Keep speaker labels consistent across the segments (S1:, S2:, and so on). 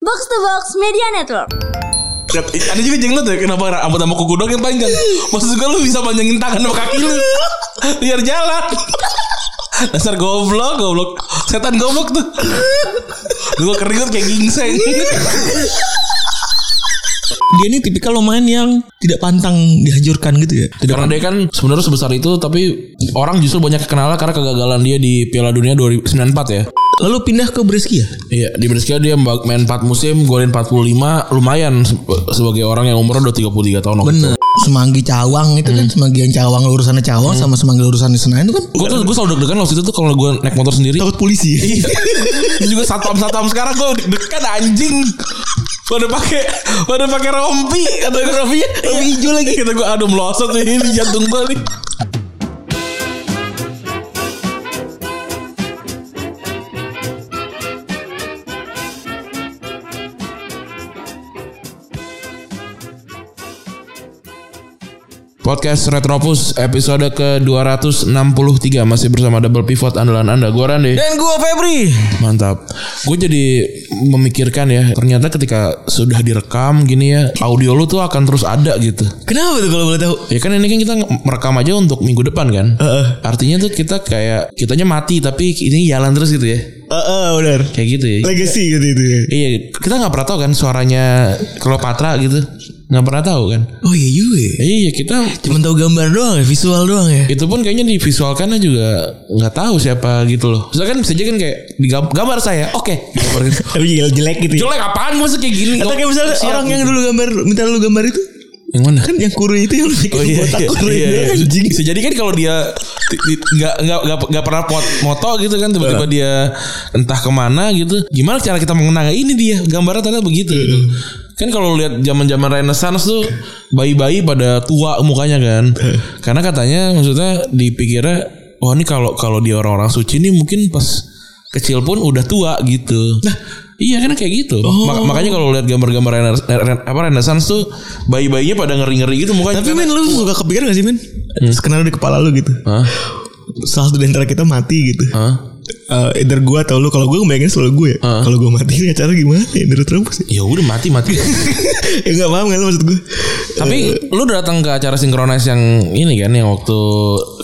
S1: Box to Box Media Network.
S2: Lihat, i- ada juga jeng lo tuh kenapa ra- rambut sama kuku doang yang panjang. Maksud gue lu bisa panjangin tangan sama kaki lu. Biar jalan. Dasar goblok, goblok. Setan goblok tuh. Gue keringet kayak gingseng.
S3: Dia ini tipikal lumayan yang tidak pantang dihancurkan gitu ya. Tidak
S2: Karena dia kan sebenarnya sebesar itu tapi orang justru banyak kenal karena kegagalan dia di Piala Dunia 2094 ya.
S3: Lalu pindah ke Brescia.
S2: Iya, di Brescia dia mbak- main 4 musim, golin 45, lumayan se- sebagai orang yang umurnya udah 33 tahun. waktu
S3: Bener. Semanggi Cawang itu kan semanggi yang Cawang lurusannya Cawang sama semanggi lurusannya Senayan itu kan
S2: Gue tuh gue selalu deg-degan waktu itu tuh kalau gue naik motor sendiri.
S3: takut polisi.
S2: Iya. Terus juga satpam-satpam sekarang gue deg-degan anjing. Pada pakai pada pakai rompi, ada rompinya, rompi hijau lagi. Kita gue aduh melosot nih di jantung gue nih. Podcast Retropus episode ke-263 masih bersama Double Pivot andalan Anda gue Rande
S3: Dan gua Febri.
S2: Mantap. Gue jadi memikirkan ya, ternyata ketika sudah direkam gini ya, audio lu tuh akan terus ada gitu.
S3: Kenapa tuh kalau boleh tahu?
S2: Ya kan ini kan kita merekam aja untuk minggu depan kan. Artinya tuh kita kayak kitanya mati tapi ini jalan terus gitu ya.
S3: Heeh, benar.
S2: Kayak gitu ya.
S3: Legacy gitu itu.
S2: Iya, kita nggak pernah tahu kan suaranya Cleopatra gitu. nggak pernah tahu kan.
S3: Oh iya juga. ya.
S2: Iya, kita
S3: Cuman tahu gambar doang ya, visual doang ya.
S2: itu pun kayaknya di visualkannya juga nggak tahu siapa gitu loh. Misalkan bisa aja kan kayak di gam- gambar saya, oke. Gambar gitu.
S3: Tapi jelek gitu
S2: Jelek apaan masa kayak gini?
S3: Atau kayak misalnya
S2: Siap.
S3: orang yang dulu gambar minta lu gambar itu
S2: yang mana?
S3: kan yang kuru itu yang lu bikin
S2: Oh iya,
S3: botak
S2: iya,
S3: kuru
S2: iya,
S3: itu
S2: iya.
S3: kan anjing.
S2: Bisa jadi kan kalau dia ti- ti- nggak nggak nggak nggak pernah pot moto gitu kan tiba-tiba dia entah kemana gitu. Gimana cara kita mengenang ini dia gambarnya ternyata begitu.
S3: Iya,
S2: gitu. Kan kalau lihat zaman-zaman Renaissance tuh bayi-bayi pada tua mukanya kan.
S3: Iya.
S2: Karena katanya maksudnya dipikirnya wah ini kalau kalau dia orang-orang suci nih mungkin pas kecil pun udah tua gitu.
S3: Nah.
S2: Iya karena kayak gitu. Mak-
S3: Oh.
S2: makanya kalau lihat gambar-gambar rena- rena- apa Renaissance tuh bayi-bayinya pada ngeri-ngeri gitu mukanya.
S3: Tapi
S2: Karena-
S3: men lu suka kepikiran gak sih men? Skenario di kepala lu gitu.
S2: Hah?
S3: Salah satu di antara kita mati gitu.
S2: Hah?
S3: Eh, either gua atau lu kalau gua bayangin selalu gue.
S2: Ah.
S3: Kalau gua mati ini acara gimana ya? Menurut terus sih.
S2: Ya udah mati mati.
S3: ya enggak paham kan lu maksud gue.
S2: Tapi lu datang ke acara sinkronis yang ini kan yang waktu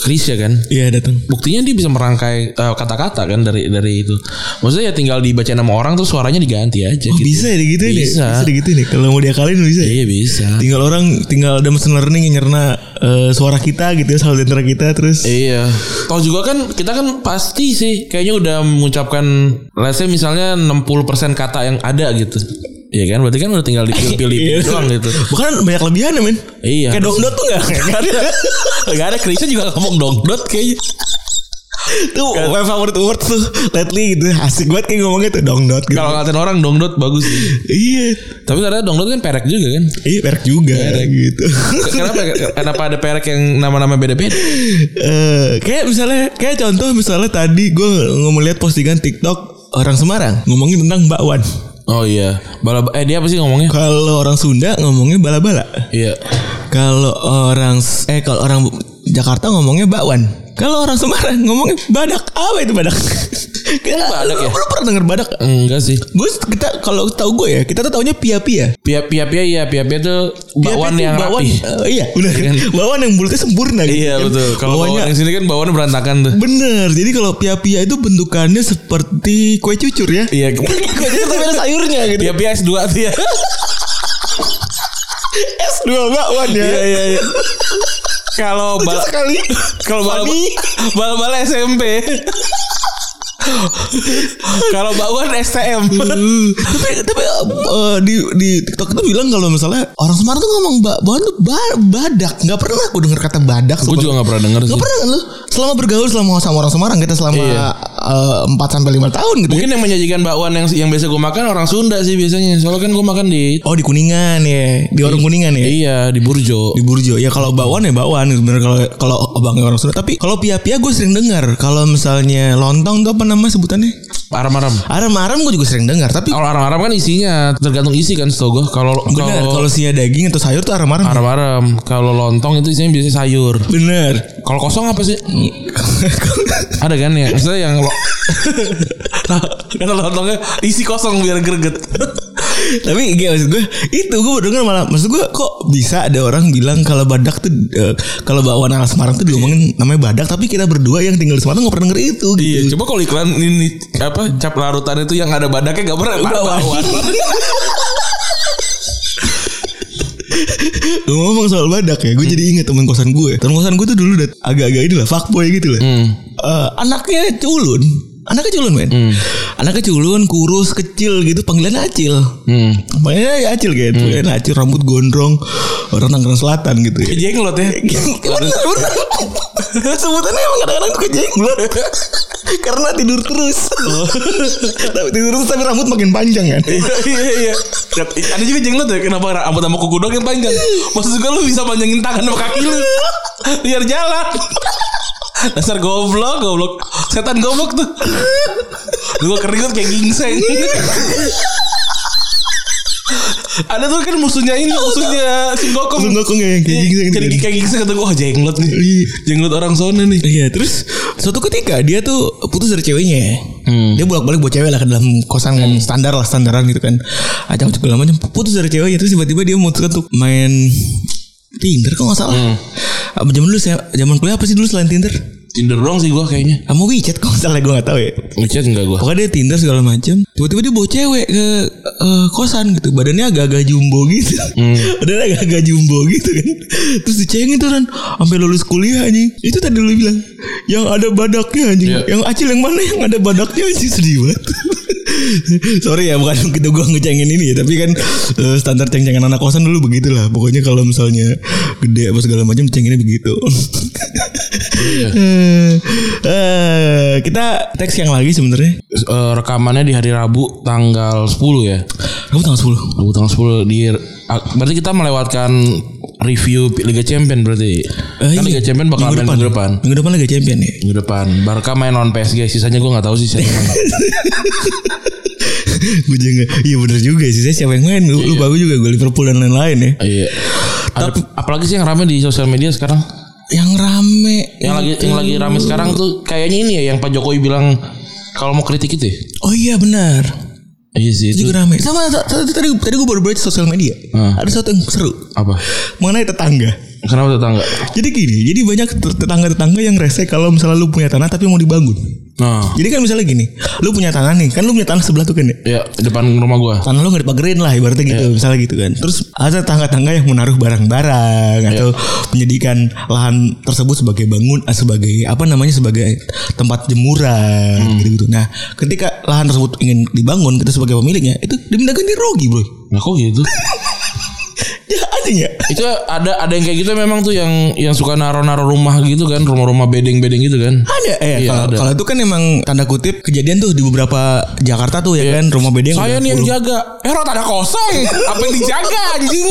S2: Chris ya kan.
S3: Iya datang.
S2: Buktinya dia bisa merangkai eh, kata-kata kan dari dari itu. Maksudnya ya tinggal dibaca nama orang terus suaranya diganti aja
S3: Oh,
S2: gitu.
S3: bisa ya gitu ini.
S2: Bisa.
S3: Bisa gitu nih. Kalau mau diakalin bisa. ya?
S2: Iya bisa.
S3: Tinggal orang tinggal ada mesin learning yang nyerna eh, suara kita gitu ya, salah di antara kita terus
S2: Iya. Tahu juga kan kita kan pasti sih kayaknya udah mengucapkan let's say misalnya 60% kata yang ada gitu. Iya kan berarti kan udah tinggal dipilih-pilih doang gitu.
S3: Bukan banyak lebihan ya men
S2: Iya.
S3: Kayak dongdot tuh gak? Gak ada
S2: Gak ada Krisnya juga ngomong dongdot kayaknya.
S3: Tuh my favorite word tuh Lately gitu Asik banget kayak ngomongnya tuh dongdot gitu
S2: Kalau ngatain orang dongdot bagus sih.
S3: Iya
S2: Tapi ternyata dongdot kan perek juga kan.
S3: Iya perak juga gitu
S2: Kenapa ya? kenapa ada perek yang nama-nama beda-beda?
S3: Eh, Kayak misalnya Kayak contoh misalnya tadi Gue ngeliat postingan tiktok Orang Semarang Ngomongin tentang bakwan
S2: Oh iya, balaba eh dia apa sih ngomongnya?
S3: Kalau orang Sunda ngomongnya bala-bala
S2: Iya.
S3: Kalau orang Eh kalau orang Jakarta ngomongnya bakwan Kalau orang Semarang ngomongnya badak Apa itu badak? Kita
S2: Badak ya?
S3: Lu pernah denger badak?
S2: Enggak sih.
S3: Gue kita kalau tahu gue ya kita tuh taunya pia-pia.
S2: Pia pia pia iya, pia pia tuh bakwan
S3: Pia-pia tuh
S2: yang
S3: bakwan,
S2: rapi. kan?
S3: eh, iya, benar. Bakwan yang mulutnya sempurna gitu.
S2: Iya betul. Kalau
S3: Bawannya
S2: bakwan yang sini kan bakwan berantakan tuh.
S3: bener. Jadi kalau pia-pia itu bentukannya seperti kue cucur ya.
S2: Iya.
S3: Kue cucur tapi ada sayurnya gitu.
S2: Pia pia S2 tuh ya.
S3: Es dua bakwan ya.
S2: Iya iya iya. Kalau
S3: Lucu
S2: bal
S3: sekali.
S2: kalau bal
S3: Funny.
S2: bal bal SMP. Kalau bakwan STM.
S3: Hmm. tapi tapi eh, di di TikTok itu bilang kalau misalnya orang Semarang tuh ngomong ba- bakwan tuh ba- badak. Nggak pernah aku dengar kata badak.
S2: Gue juga nggak pernah denger
S3: Gak
S2: sih.
S3: pernah kan lu selama bergaul selama sama orang Semarang kita selama eh,
S2: Iya.
S3: empat sampai lima tahun gitu. ya.
S2: Mungkin yang menyajikan bakwan yang yang biasa gue makan orang Sunda sih biasanya. Soalnya kan gue makan di
S3: Oh di Kuningan ya, di warung Kuningan ya.
S2: iya di Burjo.
S3: Di Burjo. Ya kalau bakwan ya bakwan sebenarnya kalau kalau abangnya orang Sunda. Tapi kalau pia-pia gue sering dengar kalau misalnya lontong tuh apa nama sebutannya?
S2: Aram-aram.
S3: Arem-arem gue juga sering dengar. Tapi
S2: Kalau aram-aram kan isinya tergantung isi kan setahu gue. Kalau
S3: bener
S2: kalau
S3: kalau sinya daging atau sayur tuh arem-arem.
S2: aram-aram, kalau lontong itu isinya biasanya sayur.
S3: Bener.
S2: Kalau kosong apa sih? Ada kan ya? Maksudnya yang lo Kata lontongnya isi kosong biar greget.
S3: Tapi gak maksud gue Itu gue baru denger malah Maksud gue kok bisa ada orang bilang Kalau badak tuh eh, Kalau bakwan ala Semarang tuh diomongin Namanya badak Tapi kita berdua yang tinggal di Semarang Gak pernah denger itu gitu
S2: Iya, coba kalau iklan ini apa cap larutan itu yang ada badaknya gak pernah
S3: Bakwan.
S2: bakwan.
S3: Ngomong soal badak ya Gue jadi inget temen kosan gue Temen kosan gue tuh dulu dat- Agak-agak ini lah Fuckboy gitu lah Eh, Anaknya culun Anaknya culun men Anaknya culun Kurus Kecil gitu Panggilan acil
S2: Hmm.
S3: Panggilan ya acil gitu Panggilan acil Rambut gondrong Orang Tangerang Selatan gitu ya
S2: Jenglot ya.
S3: Bener, bener. Sebutannya emang kadang-kadang suka jenglot Karena tidur terus Tapi Tidur terus tapi rambut makin panjang kan
S2: iya iya. Ada juga jenglot ya kenapa rambut sama kuku doang yang panjang. Maksud gue lu bisa panjangin tangan sama kaki lu. Biar jalan. Dasar goblok, goblok. Setan goblok tuh. Lu gua keringet kayak gingseng. Ada tuh kan musuhnya ini, musuhnya Sungokong.
S3: Langsung ngokong ya yang kayak gini yang
S2: Jadi
S3: gini.
S2: kayak gingseng kata gua oh, jenglot nih.
S3: Iya.
S2: Jenglot orang zona nih.
S3: Iya terus Suatu ketika dia tuh putus dari ceweknya Dia bolak-balik buat cewek lah ke dalam kosan kan Standar lah standaran gitu kan Acang segala macam Putus dari ceweknya Terus tiba-tiba dia memutuskan untuk main Tinder kok gak salah Apa Zaman dulu saya Zaman kuliah apa sih dulu selain Tinder
S2: Tinder doang sih gua kayaknya.
S3: Sama WeChat kok gak salah gue gak tau ya
S2: Ngechat enggak gua.
S3: Pokoknya dia Tinder segala macam. Tiba-tiba dia bawa cewek ke eh, kosan gitu. Badannya agak-agak jumbo gitu. Badannya agak-agak jumbo gitu kan. Terus dicengin tuh kan sampai lulus kuliah anjing. Itu tadi lu bilang yang ada badaknya anjing.
S2: Iya.
S3: Yang acil yang mana yang ada badaknya anjing sedih banget. Sorry ya bukan gitu gua ngecengin ini ya tapi kan eh, standar ceng-cengan anak kosan dulu begitulah pokoknya kalau misalnya gede apa segala macam cenginnya begitu. Eh, eh, kita teks yang lagi sebenarnya
S2: Eh, rekamannya di hari Rabu tanggal 10 ya.
S3: Kamu Eh, tanggal 10
S2: Rabu tanggal 10 di ah, berarti kita melewatkan review Liga Champion berarti. kan Liga Champion bakal main minggu depan.
S3: iya. Minggu depan Liga Champion ya
S2: Minggu depan. Barca main lawan PSG. Sisanya gue nggak tahu sih. Saya
S3: Gue juga Iya bener juga sih Saya siapa yang main Lu, lu bagus juga Gue Liverpool dan lain-lain ya
S2: Iya. Ada- apalagi sih yang rame di sosial media sekarang?
S3: Yang rame
S2: Yang lagi yang lagi rame sekarang tuh kayaknya ini ya yang Pak Jokowi bilang kalau mau kritik itu. ya?
S3: Oh iya benar
S2: Iya sih itu.
S3: Itu juga rame Sama t- t- tadi tadi gue baru baca sosial media
S2: Hmm.
S3: Ada sesuatu yang seru
S2: Apa?
S3: Mengenai tetangga
S2: Kenapa tetangga?
S3: Jadi gini Jadi banyak t- tetangga-tetangga yang rese Kalau misalnya lu punya tanah Tapi mau dibangun
S2: Nah,
S3: Jadi kan misalnya gini Lu punya tanah nih Kan lu punya tanah sebelah tuh kan ya
S2: ya depan rumah gua.
S3: tanah lu nggak dipagerin lah ibaratnya gitu
S2: Iya.
S3: misalnya gitu kan terus ada tangga-tangga yang menaruh barang-barang atau
S2: Iya.
S3: menjadikan lahan tersebut sebagai bangun eh, sebagai apa namanya sebagai tempat jemuran
S2: Hmm.
S3: gitu-gitu nah ketika lahan tersebut ingin dibangun kita sebagai pemiliknya itu diminta ganti rugi bro
S2: Nah, kok gitu?
S3: ya anjing ya
S2: itu ada ada yang kayak gitu memang tuh yang yang suka naro-naro rumah gitu kan, rumah-rumah bedeng-bedeng gitu kan.
S3: ada eh
S2: Iya,
S3: kalau
S2: ada.
S3: kalau itu kan emang tanda kutip kejadian tuh di beberapa Jakarta tuh ya kan rumah
S2: Iya.
S3: bedeng
S2: Saya
S3: udah
S2: nih yang
S3: kurung.
S2: jaga. Eh, rot ada kosong. Apa yang dijaga anjing?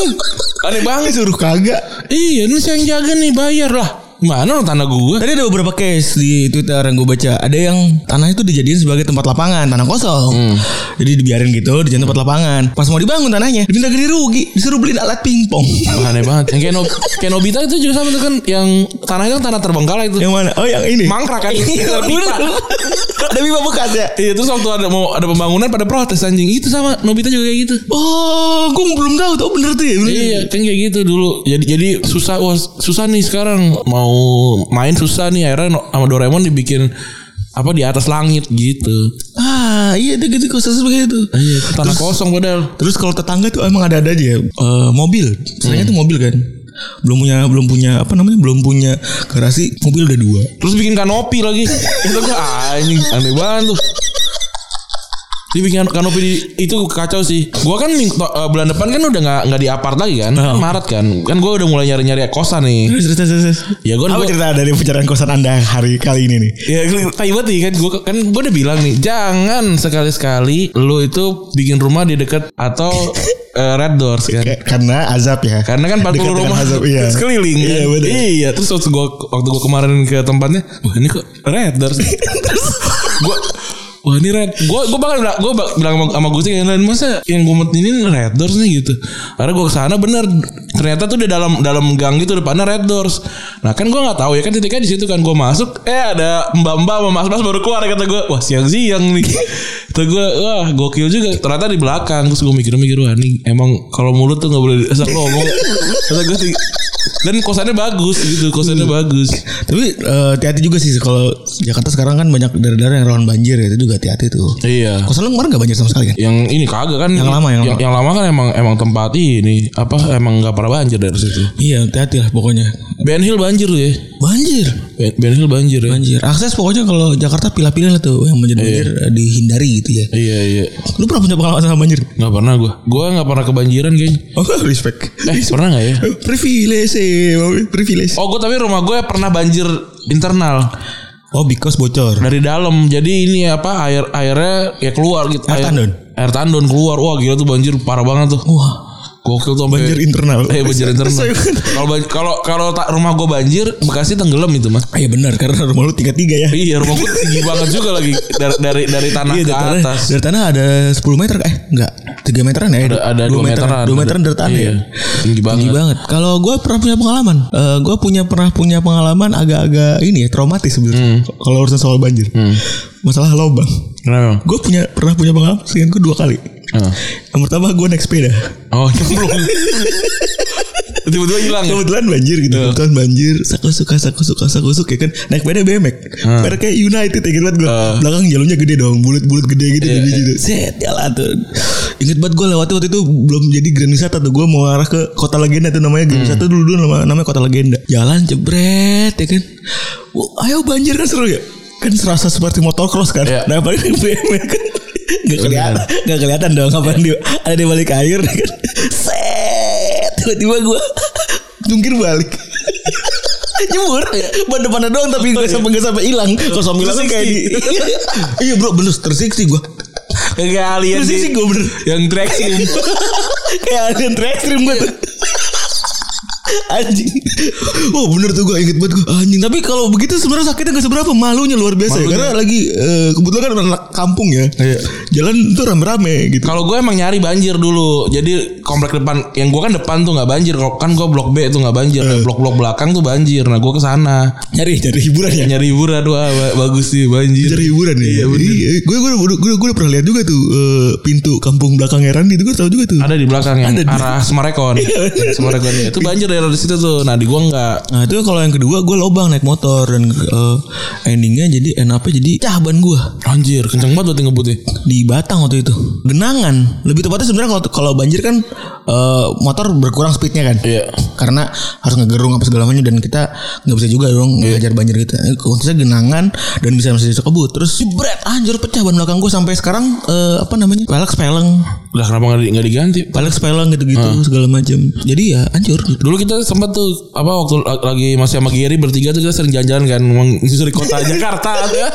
S2: Aneh banget.
S3: disuruh kagak
S2: Iya, ini saya yang jaga nih, bayar lah. Mana tanah gua?
S3: Tadi ada beberapa case di Twitter yang gue baca. Ada yang tanah itu dijadiin sebagai tempat lapangan, tanah kosong. Jadi dibiarin gitu, dijadiin tempat lapangan. Pas mau dibangun tanahnya, diminta gede rugi, disuruh beliin alat pingpong.
S2: Aneh banget. Yang Kenob Kenobita itu juga sama tuh kan yang tanahnya kan tanah terbengkalai itu.
S3: yang mana? Oh, yang ini.
S2: Mangkrak kan. Ada pipa.
S3: ada pipa bekas ya.
S2: Iya, terus waktu ada mau ada pembangunan pada protes anjing. Itu sama Nobita juga kayak gitu.
S3: Oh, gue belum tahu tuh bener tuh ya. bener.
S2: Iya kan kayak gitu dulu Jadi jadi susah wah, Susah nih sekarang Mau main susah nih Akhirnya no- sama Doraemon dibikin Apa di atas langit gitu
S3: Ah, iya itu gitu khusus begitu tuh.
S2: Iya Tanah kosong padahal
S3: Terus kalau tetangga tuh emang ada-ada aja ya. Eh, mobil, seringnya tuh mobil kan. Belum punya belum punya apa namanya? Belum punya garasi, mobil udah dua.
S2: Terus bikin kanopi lagi Itu gue anjing Aneh banget tuh dia bikin kan-, kanopi di, itu kacau sih. Gua kan ming- to- eh, bulan depan kan udah nggak nggak di apart lagi kan? Kan
S3: Oh.
S2: Maret kan. Kan gua udah mulai nyari-nyari kosan nih.
S3: Terus terus terus. terus.
S2: Ya gue
S3: Apa
S2: gua,
S3: cerita dari pencarian kosan Anda hari kali ini nih?
S2: Ya tai banget nih kan gue kan gue udah bilang nih jangan sekali-sekali lu itu bikin rumah di dekat atau eh, red doors kan.
S3: Kayak- Karena azab ya.
S2: Karena kan 40
S3: Dekat dengan
S2: rumah
S3: azab, iya.
S2: sekeliling kan.
S3: Iya, bener.
S2: iya, terus waktu gua waktu gua kemarin ke tempatnya, wah ini kok red doors. gua Wah ini red Gue gua bakal bilang Gue bilang sama, sama Gusti yang lain Masa yang gue ini red doors nih gitu Karena gue kesana bener ternyata tuh di dalam dalam gang gitu depannya Red Doors nah kan gue nggak tahu ya kan titiknya di situ kan gue masuk eh ada mbak mbak sama mas mas baru keluar kata gue wah siang siang nih tuh gue wah gokil juga ternyata di belakang terus gue mikir mikir wah nih emang kalau mulut tuh nggak boleh asal ngomong kata gue sih dan kosannya bagus gitu kosannya bagus
S3: Tapi eh, hati-hati juga sih kalau Jakarta sekarang kan banyak daerah-daerah yang rawan banjir ya. Itu juga hati-hati tuh.
S2: iya
S3: Kosan lu kemarin gak banjir sama sekali kan?
S2: yang ini kagak kan
S3: Yang lama, yang
S2: yang,
S3: lama.
S2: lama kan emang emang tempat ini apa emang nggak pernah banjir dari situ
S3: Iya hati-hati lah pokoknya.
S2: Ben Hill banjir tuh ya
S3: Banjir.
S2: Ben, Ben Hill banjir ya
S3: Banjir. Akses pokoknya kalau Jakarta pilah-pilah lah tuh yang banjir banjir eh, dihindari gitu ya.
S2: iya iya
S3: Lu pernah punya pengalaman sama banjir?
S2: nggak pernah gue gue nggak pernah kebanjiran kayaknya
S3: Oh, respect.
S2: eh pernah nggak ya
S3: privilege, eh, privilege.
S2: oh gue tapi rumah gue pernah banjir internal
S3: Oh, because bocor.
S2: dari dalam jadi ini apa air airnya ya keluar gitu
S3: Air tandon?
S2: air tandon keluar wah gila tuh banjir parah banget tuh
S3: Wah,
S2: gokil tuh sampai-
S3: Eh, iya, banjir internal.
S2: Eh banjir internal. Kalau ban- kalau kalau tak rumah gue banjir, Bekasi tenggelam itu mas.
S3: Ah, Iya benar karena rumah lu tiga tiga ya.
S2: Iya rumah gue tinggi banget juga lagi dari dari, dari tanah
S3: Iya
S2: ke
S3: dari tanah,
S2: atas.
S3: dari tanah ada 10 meter eh enggak 3 meteran ya
S2: Ada- ada
S3: Dua
S2: dua meteran.
S3: dua meteran dari tanah
S2: Iya,
S3: ya
S2: tinggi banget.
S3: tinggi banget kalau gue pernah punya pengalaman Eh gue punya pernah punya pengalaman agak-agak ini ya traumatis sebenarnya
S2: Hmm.
S3: kalau urusan soal banjir masalah lobang
S2: Kenapa? Bang?
S3: gue punya pernah punya pengalaman sehingga gue dua kali
S2: Ah.
S3: yang pertama gue naik sepeda
S2: Oh nyemplung. Tiba-tiba hilang. ya?
S3: kebetulan banjir gitu kebetulan banjir saku suka saku suka saku suka ya kan naik sepeda bemek
S2: Hmm.
S3: mereknya United ya gitu banget gue
S2: Ah.
S3: belakang jalurnya gede dong bulat bulat gede gitu
S2: Iya,
S3: gede gitu set jalan tuh inget banget gue lewati waktu itu belum jadi Grand Wisata tuh gue mau arah ke kota legenda tuh namanya
S2: Hmm.
S3: Grand Wisata dulu dulu nama- namanya kota legenda jalan jebret ya kan Wah, ayo banjir kan seru ya kan serasa seperti motocross kan
S2: Iya.
S3: nah paling naik bemek kan Gak kelihatan, gak kelihatan dong kapan dia ada di balik air kan. Set, tiba-tiba gue jungkir balik. Nyebur Ban depannya doang Tapi gue sampai gak sampai hilang Kalau sampai Oh, iya. hilang kan kayak di Iya bro bener Tersiksi gue
S2: Kayak alien sih.
S3: Tersiksi gue bener
S2: Yang traction.
S3: Kayak alien terekstrim
S2: Iya.
S3: gue tuh Anjing Oh bener tuh gue inget banget gue Anjing Tapi kalau begitu sebenarnya sakitnya gak seberapa Malunya luar biasa ya.
S2: Malunya.
S3: Karena lagi eh, Kebetulan kan anak kampung ya
S2: Iya.
S3: Jalan tuh rame-rame gitu
S2: Kalau gue emang nyari banjir dulu. Jadi komplek depan yang gue kan depan tuh nggak banjir. Kalau kan gue blok B tuh nggak banjir. Nah,
S3: Eh.
S2: Blok-blok belakang tuh banjir. Nah gue ke sana.
S3: Nyari Nyari hiburan ya
S2: Nyari hiburan wah ba- bagus sih banjir.
S3: Cari hiburan ya. Iya, gue gue gue gue- gue udah pernah lihat juga tuh eh, pintu kampung belakangnya Randy itu gue tahu juga tuh.
S2: Ada di belakang yang
S3: Ada di- Iya,
S2: arah Semarekon. Semarekon ya. Itu banjir daerah di situ tuh. Nah di gue nggak.
S3: Nah itu kalau yang kedua gue lobang naik motor dan eh, endingnya jadi end up-nya jadi cah ban gue
S2: Anjir kenceng banget berarti ngebutnya.
S3: di Batang waktu itu. Genangan. Lebih tepatnya sebenarnya kalau kalau banjir kan eh, motor berkurang speednya kan.
S2: Iya.
S3: Karena harus ngegerung apa segala macam dan kita nggak bisa juga dong
S2: Iya.
S3: ngajar banjir gitu. Eh, Khususnya genangan dan bisa masih bisa kebut. Terus jebret anjir pecah ban belakang gue sampai sekarang eh, apa namanya? Pelek sepeleng.
S2: Lah kenapa nggak di- nggak diganti?
S3: Pelek sepeleng gitu-gitu
S2: Ah.
S3: segala macam. Jadi ya hancur gitu.
S2: Dulu kita sempat tuh apa waktu la- lagi masih sama Giri bertiga tuh kita sering jalan-jalan kan menyusuri kota Jakarta ya.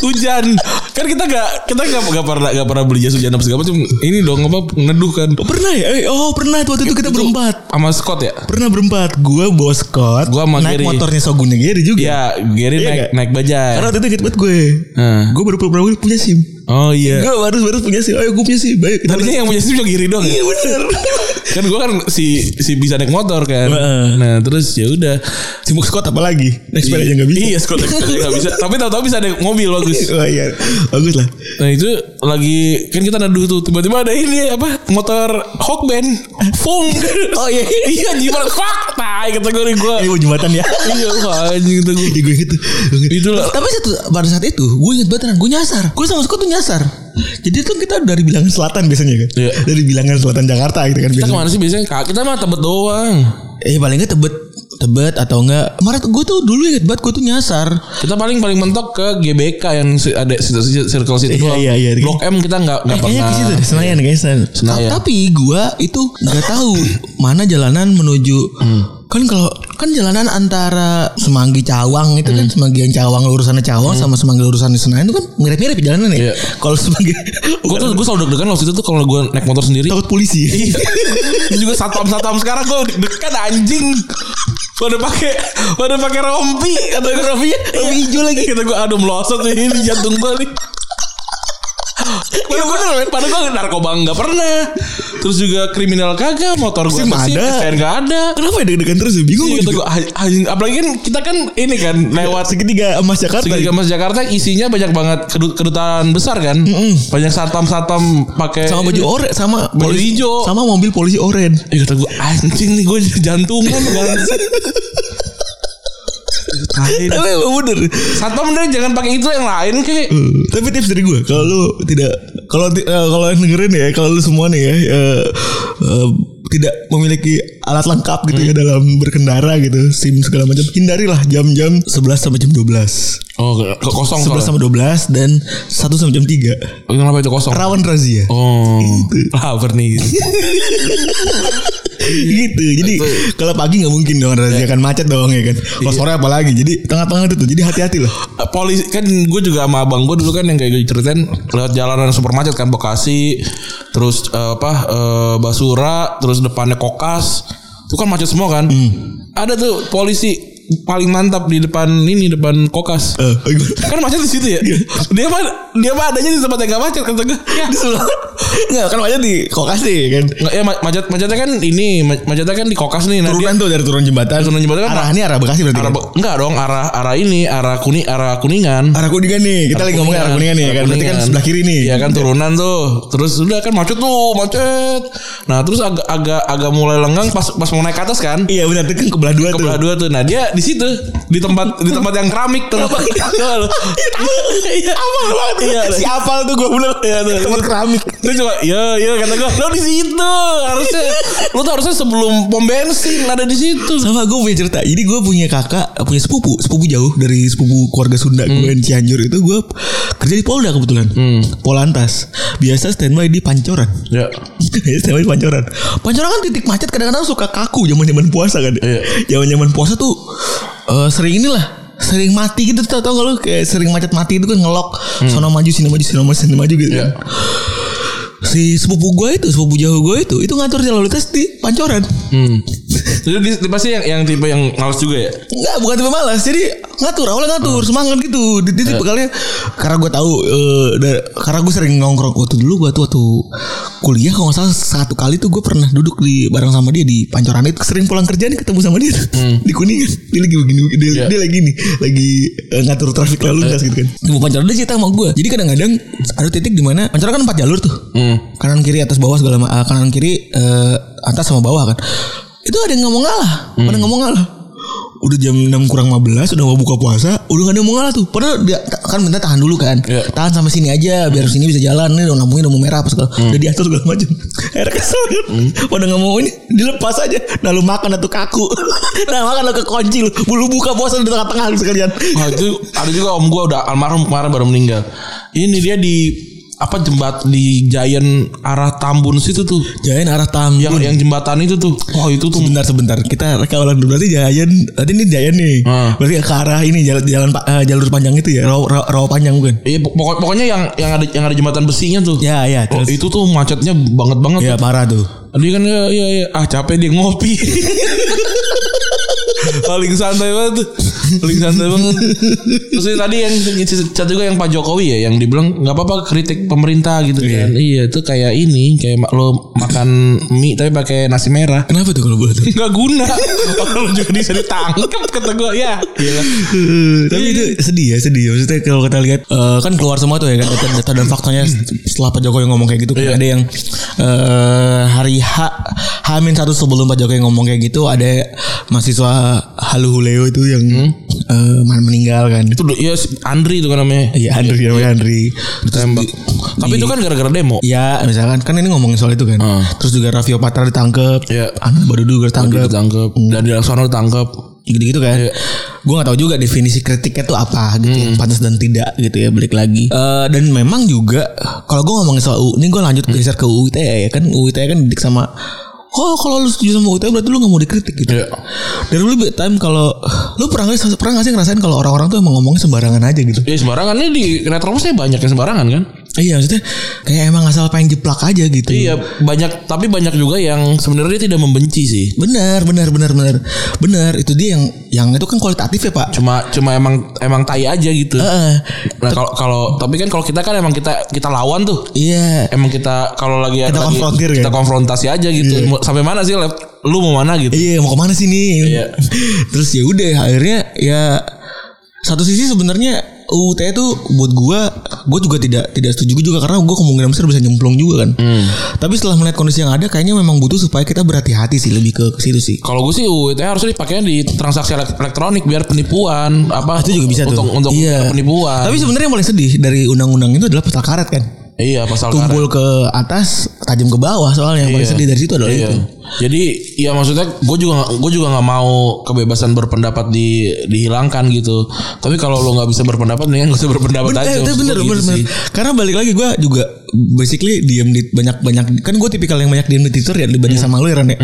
S2: hujan kan kita gak kita gak, gak pernah gak pernah beli jas hujan apa segala macam ini dong apa ngeduh kan
S3: Pernah ya? Eh, Oh pernah itu waktu itu kita berempat.
S2: sama Scott ya
S3: Pernah berempat. Gue bawa Scott.
S2: Gua sama
S3: naik
S2: Gary.
S3: motornya Sogunnya Gary juga.
S2: ya Giri
S3: Iya
S2: naik
S3: gak?
S2: naik bajaj
S3: Karena waktu itu inget banget gue.
S2: Nah.
S3: Gue baru pura punya SIM.
S2: oh iya
S3: Gue baru baru punya SIM. Ayo gue punya SIM. Baik. Kita
S2: tadinya yang punya sih cuma Giri doang ya?
S3: Iya bener.
S2: kan gue kan si si bisa naik motor kan
S3: Heeh.
S2: nah terus ya udah
S3: Sibuk Scott apa lagi? Naik sepeda aja gak bisa.
S2: iya Scott naik sepeda nggak bisa tapi tahu-tahu bisa naik mobil bagus
S3: Wah iya. Bagus lah.
S2: Nah itu lagi kan kita neduh tuh tiba-tiba ada ini apa motor Hawkman Fung
S3: Oh, iya.
S2: iya gimana fuck tai kategori gue
S3: Eh gue jembatan ya.
S2: iya wah, anjing kata gue
S3: Iya gue gitu.
S2: Itu lah.
S3: Tapi satu pada saat itu gue inget banget gue nyasar. Gue sama Scott tuh nyasar. Jadi tuh kita dari bilangan selatan biasanya kan.
S2: Iya.
S3: Dari bilangan selatan Jakarta gitu kan.
S2: kita
S3: biasanya.
S2: kemana sih biasanya Kak, kita mah tebet doang
S3: Eh paling nggak tebet tebet atau enggak Maret gue tuh dulu inget banget gue tuh nyasar
S2: kita paling paling mentok ke GBK yang si- ada situ- situ- circle situ
S3: Iya,
S2: doang
S3: iya, iya.
S2: blok M kita nggak nggak
S3: Eh, kayaknya
S2: pernah
S3: ke situ deh, Senayan kayaknya Senayan.
S2: Senayan.
S3: Ta- Tapi gue itu nggak tahu mana jalanan menuju kan kalau kan jalanan antara Semanggi Cawang itu kan Semanggi yang Cawang lurusannya Cawang sama Semanggi lurusannya Senayan itu kan mirip-mirip jalanan ya.
S2: Iya.
S3: Kalau Semanggi
S2: gue tuh gue selalu deg-degan waktu itu tuh kalau gue naik motor sendiri
S3: takut polisi.
S2: Terus juga satpam satpam sekarang gue deg-degan anjing pada pakai pada pakai rompi kata gue rompi
S3: Rompi hijau lagi.
S2: kata gue aduh melosot nih ini jantung gue nih
S3: Iya,
S2: Bener bener men Padahal gue narkoba nggak pernah Terus juga kriminal kagak Motor gue
S3: Sim ada.
S2: STN nggak ada
S3: Kenapa ya deg-degan terus ya? Bingung
S2: Iya,
S3: gue
S2: kata
S3: juga. Iya.
S2: gua, "Ah, anjing." Apalagi kan kita kan ini kan Lewat
S3: segitiga emas Jakarta.
S2: Segitiga Mas Jakarta isinya banyak banget kedut- kedutaan besar kan. Banyak satam-satam pakai
S3: sama baju oranye sama
S2: Baju hijau.
S3: sama mobil polisi oranye
S2: Eh kata gue anjing nih gue jantungan bangsat." Tai dah.
S3: tapi emang bener
S2: Satam deh jangan pakai itu yang lain kayak.
S3: Hmm. tapi tips dari gue kalau lu tidak kalau ti- eh, kalau yang dengerin ya kalau lu semua nih ya eh, eh, tidak memiliki alat lengkap gitu ya dalam berkendara gitu sim segala macam hindarilah jam-jam 11 sampai jam 12
S2: Oh ke- ke- kosong
S3: 11
S2: soalnya.
S3: sampai 12 dan 1 sampai jam 3
S2: Kenapa itu kosong?
S3: rawan razia
S2: Oh, lapar nih.
S3: gitu jadi kalau pagi nggak mungkin dong razia kan macet dong ya kan kalau sore apalagi jadi tengah-tengah itu tuh jadi hati-hati loh
S2: Polisi kan gue juga sama abang gue dulu kan yang kayak gue ceritain lewat jalanan super macet kan Bekasi, terus eh, apa eh, Basura, terus depannya Kokas, itu kan macet semua kan. Ada tuh polisi paling mantap di depan ini depan Kokas.
S3: Eh, gimana?
S2: Kan macet di situ ya.
S3: Iya.
S2: Dia mah dia mah adanya di tempat yang gak macet kata gue. Ya.
S3: di sebelah nggak kan macet di kokasi kan
S2: Nggak, ya ma- macet macetnya kan ini ma- macetnya kan di Kokas nih. Nah, dia-
S3: turunan tuh dari turun jembatan
S2: Turunan jembatan kan-
S3: arah ini arah bekasi berarti
S2: arah,
S3: kan?
S2: Be- enggak dong arah arah ini arah kuning arah kuningan.
S3: Arah kuningan nih. Ah, Kita lagi ngomongin arah kuningan nih ya kan. Berarti kan
S2: Kuningan.
S3: sebelah kiri nih.
S2: Iya kan turunan tuh. Terus udah kan macet tuh, macet. Nah, terus agak agak agak mulai lenggang pas pas mau naik ke atas kan.
S3: Iya benar itu kan kebelah dua tuh.
S2: Kebelah dua tuh. Nah, dia di situ di tempat di tempat yang keramik tuh. Iya. loh. Iya. Iya.
S3: Si apal tuh gue bener.
S2: Iya tuh.
S3: Tempat keramik.
S2: Dia cuma ya ya kata gua, lo di situ harusnya lo tuh harusnya sebelum pom bensin ada di situ.
S3: Sama gue punya cerita. Jadi gue punya kakak, punya sepupu, sepupu jauh dari sepupu keluarga Sunda gue yang Cianjur itu gue kerja di Polda kebetulan. Polantas. Biasa standby di Pancoran.
S2: Ya.
S3: standby di Pancoran. Pancoran kan titik macet kadang-kadang suka kaku zaman-zaman puasa kan. Zaman-zaman puasa tuh eh, sering inilah sering mati gitu tau tau gak lu kayak sering macet mati itu kan ngelok sono maju sini maju sini maju sini maju gitu kan.
S2: Ya.
S3: si sepupu gue itu sepupu jauh gue itu itu ngatur lalu lintas di pancoran
S2: Hmm. Jadi di- pasti yang yang tipe yang males juga ya.
S3: Enggak bukan tipe malas jadi ngatur awalnya ngatur semangat gitu di tipe kali karena gue tahu eh, da- karena gue sering nongkrong waktu dulu gue tuh waktu kuliah kalau nggak salah satu kali tuh gue pernah duduk di bareng sama dia di pancoran itu sering pulang kerja nih ketemu sama dia tuh. di kuningan dia lagi begini dia,
S2: Iya.
S3: dia lagi nih lagi eh, ngatur traffic lalu lintas gitu kan Ibu pancoran dia cerita sama gue jadi kadang-kadang ada titik di mana pancoran kan empat jalur tuh
S2: Hmm.
S3: kanan kiri atas bawah segala ma- eh, kanan kiri eh, atas sama bawah kan itu ada yang nggak mau ngalah pada nggak mau ngalah udah jam 6 kurang 15 udah mau buka puasa udah gak ada yang mau ngalah tuh padahal dia ta- kan minta tahan dulu kan
S2: Iya.
S3: tahan sampai sini aja biar sini bisa jalan nih udah lampunya udah mau merah apa segala
S2: Hmm.
S3: udah diatur segala macam akhirnya kesel kan pada nggak mau ini dilepas aja nah lu makan atau kaku nah makan lu kekunci lu lu buka puasa di tengah-tengah lu sekalian
S2: Wah itu ada juga om gue udah almarhum kemarin baru meninggal. Ini dia di apa jembat di Giant arah Tambun situ tuh.
S3: jalan arah tam
S2: Yang yang jembatan itu tuh. Hmm. Wah Ya, oh, itu tuh.
S3: sebentar sebentar kita reka ulang dulu berarti Jayan berarti ini Jayan nih
S2: Hmm.
S3: berarti ke arah ini jalan jalan pa- eh, jalur panjang itu ya rawa, rawa, rawa panjang bukan
S2: Iya pokok- pokoknya yang yang ada yang ada jembatan besinya tuh.
S3: ya ya
S2: Oh,
S3: terus
S2: itu tuh macetnya banget banget.
S3: ya parah tuh
S2: Dia kan ya, ya, ya. ah capek dia ngopi. Paling santai banget tuh. Paling santai banget. Terus ini tadi yang chat juga yang Pak Jokowi ya yang dibilang nggak apa-apa kritik pemerintah gitu kan. Iya, itu kayak ini kayak ma- lo makan mie tapi pakai nasi merah.
S3: kenapa tuh kalau boleh tuh
S2: Nggak guna. Orang lo juga bisa ditangkap kata gue ya. Gila.
S3: tapi itu sedih ya sedih maksudnya kalau kita lihat eh, kan keluar semua tuh ya kan data-data dan faktanya setelah Pak Jokowi ngomong kayak gitu kayak ada yang eh, hari H Hamin satu sebelum Pak Jokowi ngomong kayak gitu ada mahasiswa Haluhuleo itu yang eh, meninggal kan
S2: Itu udah- ya si Andri itu kan namanya.
S3: Iya Andri namanya Andri Terus
S2: Tembak.
S3: di-
S2: Tapi itu kan gara-gara demo.
S3: Ya misalkan kan ini ngomongin soal itu kan. Terus juga Raffio Patra ditangkep.
S2: Iya.
S3: Anu baru juga ditangkep.
S2: Ditangkap dan di Laksono ditangkep.
S3: Gitu-gitu kan.
S2: Iya.
S3: Gue gak tahu juga definisi kritiknya tuh apa gitu.
S2: Hmm.
S3: ya, Pantas dan tidak gitu ya balik lagi. Eh, dan memang juga kalau gue ngomongin soal UU. Ini gue lanjut
S2: Hmm.
S3: geser ke UU ITE ya kan. UU ITE kan didik sama. Oh kalau lu setuju sama UU ITE berarti lu gak mau dikritik gitu.
S2: Iya.
S3: Dari dulu big time kalau lu pernah nggak pernah nggak sih ngerasain kalau orang-orang tuh emang ngomongnya sembarangan aja gitu.
S2: Ya sembarangan ini di retrobusnya banyak yang sembarangan kan?
S3: Iya maksudnya kayak emang asal pengen jeplak aja gitu.
S2: Iya banyak tapi banyak juga yang sebenarnya dia tidak membenci sih.
S3: Benar, benar, benar, benar, benar. Itu dia yang yang itu kan kualitatif ya pak.
S2: Cuma cuma emang emang tai aja gitu.
S3: Heeh.
S2: Nah kalau kalau tapi kan kalau kita kan emang kita kita lawan tuh.
S3: Iya.
S2: Emang kita kalau lagi
S3: Kita
S2: lagi-
S3: konfrontir ya?
S2: kita konfrontasi aja gitu. Mau- Sampai mana sih lep- lu mau mana gitu?
S3: Iya mau kemana sih nih?
S2: Iya.
S3: Terus ya udah akhirnya ya satu sisi sebenarnya UUT itu buat gua gue juga tidak tidak setuju juga karena gua kemungkinan besar bisa nyemplung juga kan.
S2: Hmm.
S3: Tapi setelah melihat kondisi yang ada kayaknya memang butuh supaya kita berhati-hati sih lebih ke, ke situ sih.
S2: Kalau gue sih UIT harusnya dipakainya di transaksi elek- elektronik biar penipuan apa
S3: Itu juga bisa
S2: untuk,
S3: tuh.
S2: untuk
S3: Iya.
S2: penipuan.
S3: Tapi sebenarnya yang paling sedih dari undang-undang itu adalah pasal karet kan.
S2: iya pasal karet.
S3: Tumpul ke atas, tajam ke bawah soalnya yang paling
S2: Iya.
S3: sedih dari situ adalah
S2: Iya.
S3: itu.
S2: Jadi ya maksudnya gue juga gue juga nggak mau kebebasan berpendapat di dihilangkan gitu. Tapi kalau lo nggak bisa berpendapat mendingan gak usah berpendapat
S3: Ben-
S2: aja.
S3: eh,
S2: Maksud
S3: itu
S2: gua
S3: bener,
S2: gitu
S3: bener, bener.
S2: sih.
S3: Karena balik lagi gue juga basically diem di banyak banyak kan gue tipikal yang banyak diem di Twitter ya dibanding
S2: Hmm.
S3: sama lu ya Ren, ya.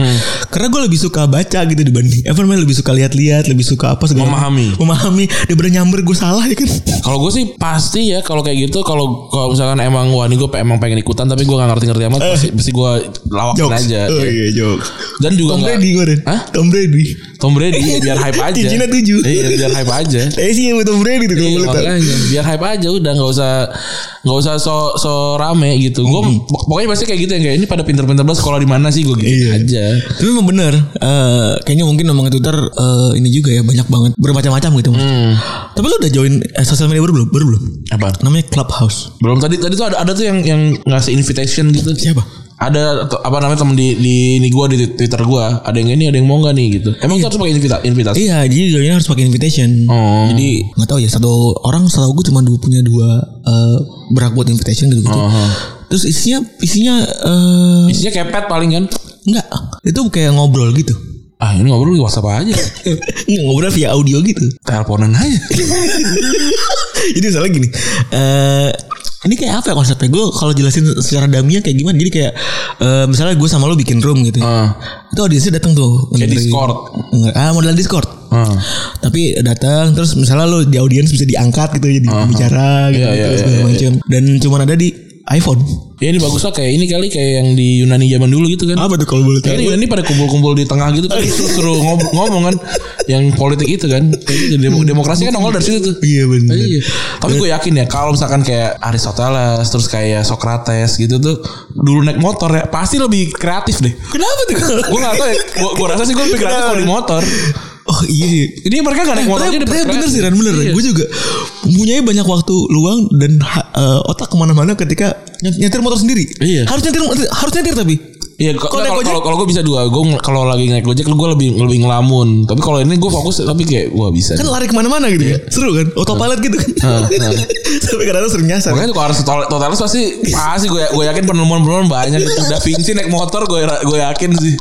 S3: Karena gue lebih suka baca gitu dibanding apa namanya lebih suka lihat-lihat, lebih suka apa segala
S2: Memahami.
S3: memahami daripada nyamber gue salah ya kan.
S2: Kalau gue sih pasti ya kalau kayak gitu kalau kalau misalkan emang wah ini gue emang pengen ikutan tapi gue nggak ngerti-ngerti amat pasti, pasti gue lawakin
S3: Jokes.
S2: aja.
S3: Oh iya jokes.
S2: Dan juga
S3: Tom
S2: ya. nggak-
S3: Brady gue Ren.
S2: Hah?
S3: Tom Brady.
S2: Tom Brady ya, biar hype aja.
S3: Cincinnya tujuh.
S2: Iya biar hype aja.
S3: Eh sih sama Tom Brady tuh kalau
S2: Iya,
S3: boleh tahu.
S2: makanya. biar hype aja udah nggak usah nggak usah so so rame gitu. Gue pokoknya pasti kayak gitu yang kayak ini pada pinter-pinter banget sekolah di mana sih gue gitu
S3: Iya.
S2: aja.
S3: Tapi memang bener eh, Kayaknya mungkin omongan Twitter eh, Ini juga ya banyak banget Bermacam-macam gitu Tapi lu udah join eh, Sosial media baru belum? Baru belum?
S2: Hmm. Apa?
S3: Namanya Clubhouse
S2: Belum tadi tadi tuh ada ada tuh yang yang ngasih invitation gitu.
S3: Siapa?
S2: Ada atau apa namanya temen di di ini gua di Twitter gua, ada yang ini ada yang mau nggak nih gitu. Emang kita harus pakai invita- invitasi?
S3: Iya jadi joinnya harus pakai invitation
S2: Oh.
S3: Jadi nggak tahu ya Satu orang setahu gue cuma dua punya dua eh, Berhak buat invitation gitu-gitu
S2: Oh.
S3: Terus isinya Isinya eh,
S2: Uh-huh. Isinya kepet paling kan.
S3: Enggak Itu kayak ngobrol gitu
S2: Ah, ini ngobrol di WhatsApp aja.
S3: Nggak, Ngobrol via audio gitu
S2: Teleponan aja.
S3: Iya. Jadi misalnya gini eh Ini kayak apa ya konsepnya Gue kalau jelasin secara daminya kayak gimana Jadi kayak eh, Misalnya gue sama lo bikin room gitu ya.
S2: Heeh.
S3: Itu audiensnya datang tuh
S2: Oh. Kayak
S3: dari-
S2: Discord. Oh.
S3: Nggak, Ah model Discord
S2: Heeh.
S3: Tapi datang Terus misalnya lo di audiens bisa diangkat gitu Jadi bicara gitu,
S2: Iya, iya,
S3: terus
S2: iya,
S3: segala macam. Dan cuman ada di iPhone
S2: Ya ini bagus lah kayak ini kali kayak yang di Yunani zaman dulu gitu kan.
S3: Apa tuh kalau boleh
S2: Ya, ini ini pada kumpul-kumpul di tengah gitu kan terus suruh ngob- ngomong kan yang politik itu kan. Jadi demo- demokrasi kan nongol dari situ tuh.
S3: Iya bener
S2: Iya. Tapi gue yakin ya kalau misalkan kayak Aristoteles terus kayak Socrates gitu tuh dulu naik motor ya pasti lebih kreatif deh.
S3: Kenapa tuh kalau
S2: Gue gak tau ya. Gue, gue rasa sih gue lebih kreatif kalau di motor.
S3: Oh iya sih
S2: Ini mereka gak naik motor aja udah
S3: Tapi tapi bener
S2: berkreasi.
S3: sih Ran bener
S2: Iya.
S3: Gue juga Punyai banyak waktu luang Dan ha- eh, otak kemana-mana ketika ny- Nyetir motor sendiri
S2: Iya.
S3: Harus nyetir Harus nyetir tapi
S2: Iya, kalau
S3: Kalau naik
S2: kalau
S3: gojek?
S2: kalau- kalau gue bisa dua, gue ng- kalau lagi naik gojek gue lebih lebih ngelamun. Tapi kalau ini gue fokus tapi kayak wah bisa.
S3: Kan lari kemana-mana gitu
S2: Iya.
S3: kan Seru kan Autopilot gitu kan Sampai kadang-kadang sering nyasar
S2: Ah, Makanya kalau harus total totalis pasti pasti gue gue yakin penemuan-penemuan banyak gitu. Da Vinci naik motor gue ra- gue yakin sih.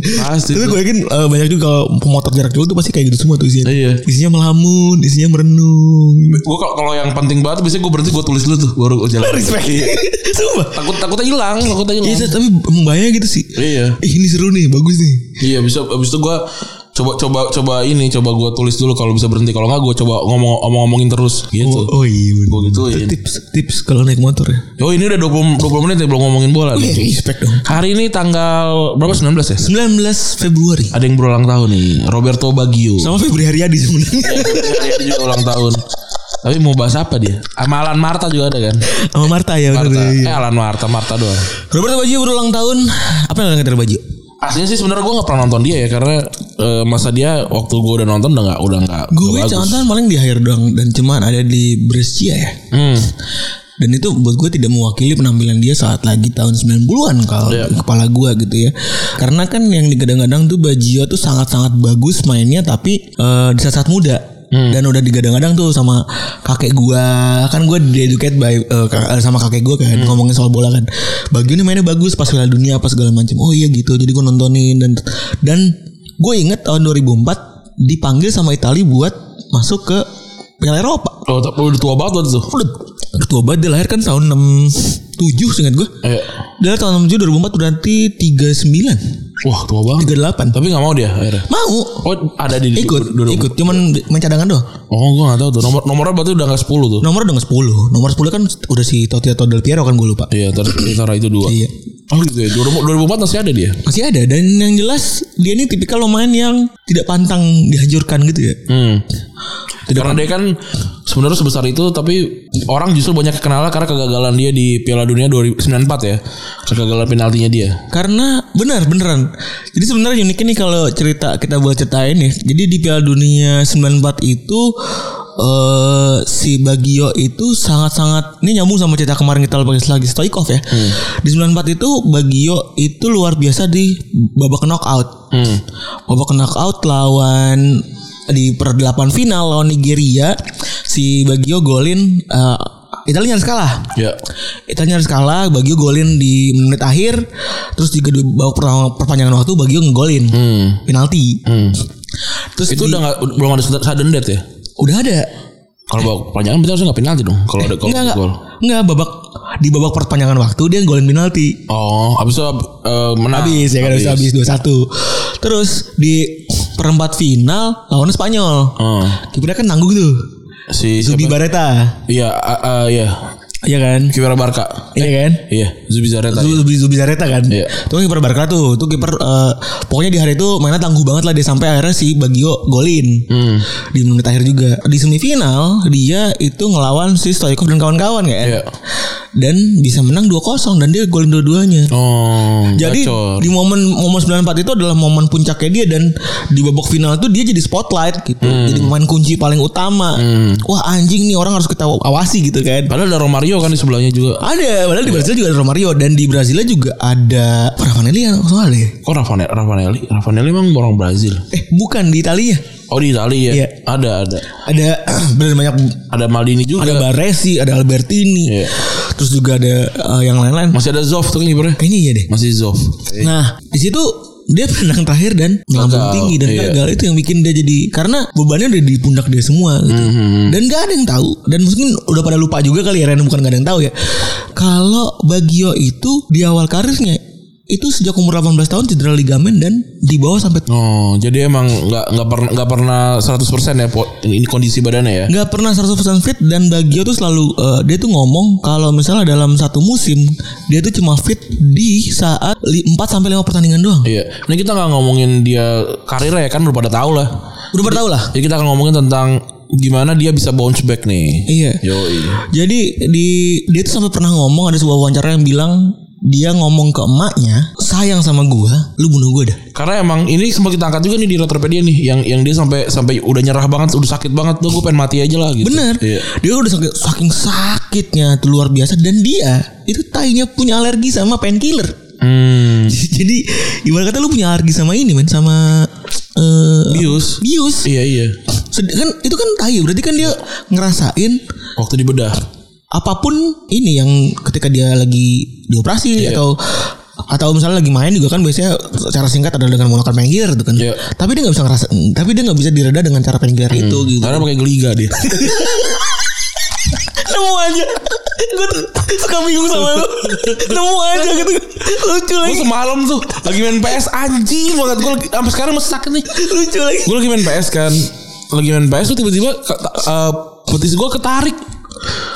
S2: Pasti
S3: Tapi
S2: tuh.
S3: gue yakin eh, banyak juga kalau pemotor jarak jauh tuh pasti kayak gitu semua tuh isinya.
S2: Iya.
S3: Isinya melamun, isinya merenung.
S2: Gue kalau kalau yang penting banget biasanya gue berhenti gue tulis dulu tuh baru gue jalan.
S3: Respect. Sumpah.
S2: Takut takutnya hilang, takutnya hilang.
S3: Iya, tapi membayang gitu sih.
S2: Iya.
S3: Ih, ini seru nih, bagus nih.
S2: Iya, bisa abis itu gue coba coba coba ini coba gue tulis dulu kalau bisa berhenti kalau nggak gue coba ngomong ngomong ngomongin terus gitu.
S3: Oh, oh iya. bener.
S2: Gua gituin.
S3: Tips tips kalau naik motor ya. Iya,
S2: Oh ini udah 20, 20 menit ya belum ngomongin bola. nih.
S3: respect dong.
S2: Hari ini tanggal berapa 19 ya?
S3: 19 Februari.
S2: Ada yang berulang tahun nih, Roberto Baggio.
S3: Sama Febri Haryadi sebenarnya.
S2: Dia juga ulang tahun. Tapi mau bahas apa dia? Sama Alan Marta juga ada kan?
S3: Sama Marta ya bener
S2: Marta.
S3: iya.
S2: Eh Alan Marta, Marta doang.
S3: Roberto Baggio berulang tahun. Apa yang ada Roberto Baggio?
S2: Aslinya sih sebenarnya gue gak pernah nonton dia ya karena eh, masa dia waktu gue udah nonton udah gak udah gak,
S3: Gue
S2: gak bagus.
S3: contohan paling di akhir doang dan cuman ada di Brescia ya.
S2: Hmm.
S3: Dan itu buat gue tidak mewakili penampilan dia saat lagi tahun 90-an kalau di kepala gue gitu ya. Karena kan yang digadang-gadang tuh Baggio tuh sangat-sangat bagus mainnya tapi eh, di saat-saat muda. Dan udah digadang-gadang tuh sama kakek gua Kan gua di-educate by, eh, kak- eh, sama kakek gua kan Ngomongin soal bola kan Baggio ini mainnya bagus pas Piala Dunia apa segala macam Oh iya gitu jadi gua nontonin Dan dan gue inget tahun 2004 Dipanggil sama Italia buat masuk ke Piala Eropa
S2: Oh, tapi udah tua banget waktu itu.
S3: udah udah tua banget dia lahir kan tahun 6 7 seingat gue.
S2: Eh,
S3: Dari tahun 67 2004 berarti 39.
S2: wah tua banget.
S3: 38.
S2: Tapi nggak mau dia akhirnya.
S3: Mau.
S2: Oh ada di
S3: Ikut,
S2: di- di-
S3: ikut. Cuman main cadangan doang.
S2: Oh gue nggak tahu tuh nomor nomornya berarti udah nggak 10 tuh.
S3: Nomor udah nggak 10. Nomor 10 kan udah si Totti atau Del Piero kan gue lupa.
S2: Iya tar- antara itu dua.
S3: Iya.
S2: Oh gitu ya. 2000 2004 masih ada dia.
S3: Masih ada dan yang jelas dia ini tipikal pemain yang tidak pantang dihancurkan gitu ya.
S2: Hmm. karena dia kan sebenarnya sebesar itu tapi orang justru banyak kenal karena kegagalan dia di Piala Dunia 2094 ya. Kegagalan penaltinya dia.
S3: Karena benar beneran. Jadi sebenarnya unik ini kalau cerita kita buat ceritain ya. Jadi di Piala Dunia 94 itu eh si Bagio itu sangat-sangat ini nyambung sama cerita kemarin kita bahas lagi Stoikov ya. Di 94 itu Bagio itu luar biasa di babak knockout. Babak knockout lawan di perdelapan final lawan Nigeria si Bagio golin eh, Italia nyaris kalah.
S2: Ya.
S3: Italia harus kalah Bagio golin di menit akhir Terus juga di babak pertama perpanjangan waktu Bagio ngegolin Penalti Terus
S2: Hmm. Itu
S3: di-
S2: udah nggak belum ada sudden death ya.
S3: udah ada
S2: Kalau bawa panjangan berarti harusnya nggak penalti dong. Kalau ada kalau
S3: Eh. Enggak enggak
S2: gol.
S3: Enggak babak Di babak perpanjangan waktu Dia ngegolin penalti
S2: Oh, habis itu eh, menang.
S3: Habis ya kan habis, habis 2-1 Terus di perempat final Lawannya Spanyol
S2: Hmm.
S3: Kipernya kan nanggung tuh
S2: Si
S3: Zubi
S2: siapa?
S3: Bareta
S2: Iya, a- a- iya.
S3: Iya kan
S2: Kiwara Barca.
S3: Iya kan
S2: Iya, Zubi Zareta.
S3: Zu- Zubi Zubi Zareta kan.
S2: Iya.
S3: Itu kan kiper Barca tuh. Itu kiper eh, pokoknya di hari itu mainnya tangguh banget lah dia sampai akhirnya si Bagio golin.
S2: Hmm.
S3: Di menit akhir juga. Di semifinal dia itu ngelawan si Stoikov dan kawan-kawan kan.
S2: Iya.
S3: Dan bisa menang 2-0 dan dia golin dua-duanya.
S2: Oh,
S3: Jadi
S2: gacor.
S3: di momen momen 94 itu adalah momen puncaknya dia dan di babak final itu dia jadi spotlight gitu.
S2: Hmm.
S3: Jadi pemain kunci paling utama. Wah anjing nih orang harus kita awasi gitu kan.
S2: Padahal ada Romario kan di sebelahnya juga.
S3: Ada, padahal di Brazil juga ada Romario dan di Brasilnya juga ada Ravanelli kan soalnya deh.
S2: Kok Ravanelli? Ravanelli, Ravanelli emang orang Brazil.
S3: Eh, bukan di Italia.
S2: Oh di Italia ya?
S3: Iya.
S2: Ada ada.
S3: Ada benar banyak
S2: Ada Maldini juga.
S3: ada Baresi, ada Albertini.
S2: Iya.
S3: Terus juga ada eh, yang lain-lain.
S2: Masih ada Zoff tuh kan kipernya.
S3: Kayaknya iya deh.
S2: Masih Zoff.
S3: Nah, di situ dia menang terakhir dan
S2: Eh.
S3: melambung
S2: Gagal,
S3: tinggi dan
S2: iya.
S3: gagal itu yang bikin dia jadi karena bebannya udah di pundak dia semua gitu.
S2: Hmm,
S3: Dan gak ada yang tahu dan mungkin udah pada lupa juga kali ya Ren bukan gak ada yang tahu ya. Kalau Bagio itu di awal karirnya itu sejak umur 18 tahun cedera ligamen dan dibawa sampai
S2: Oh, jadi emang nggak nggak pernah nggak pernah 100% ya po, ini kondisi badannya ya.
S3: nggak pernah 100% fit dan Bagio tuh selalu eh, dia tuh ngomong kalau misalnya dalam satu musim dia tuh cuma fit di saat 4 sampai 5 pertandingan doang.
S2: Iya. Ini kita nggak ngomongin dia karirnya ya kan udah pada tahu lah.
S3: Udah pada tahu lah.
S2: Jadi kita akan ngomongin tentang gimana dia bisa bounce back nih.
S3: Iya.
S2: Yo.
S3: Jadi di dia tuh sampai pernah ngomong ada sebuah wawancara yang bilang dia ngomong ke emaknya sayang sama gua, lu bunuh gua dah.
S2: Karena emang ini sempat kita angkat juga nih di Retropedia nih yang yang dia sampai sampai udah nyerah banget, udah sakit banget tuh gue pengen mati aja lah gitu.
S3: Bener.
S2: Iya.
S3: Dia udah saking, saking sakitnya tuh luar biasa dan dia itu tainya punya alergi sama painkiller.
S2: Hmm.
S3: Jadi ibarat kata lu punya alergi sama ini men sama eh
S2: Bius.
S3: bius.
S2: Iya iya.
S3: Sed- Kan itu kan tai berarti kan dia ngerasain
S2: Waktu dibedah.
S3: apapun ini yang ketika dia lagi dioperasi
S2: Iya.
S3: atau atau misalnya lagi main juga kan biasanya cara singkat adalah dengan menggunakan painkiller gitu kan.
S2: Iya.
S3: Tapi dia nggak bisa ngerasa, tapi dia nggak bisa direda dengan cara painkiller itu gitu.
S2: Karena pakai geliga dia.
S3: Nemu aja. Gue suka bingung sama lu. Nemu aja gitu. Lucu
S2: gue semalam tuh lagi main PS anjing banget gue sampai sekarang masih sakit nih.
S3: Lucu lagi.
S2: Gue lagi main PS kan, lagi main PS tuh tiba-tiba ke- eh, betis gue ketarik.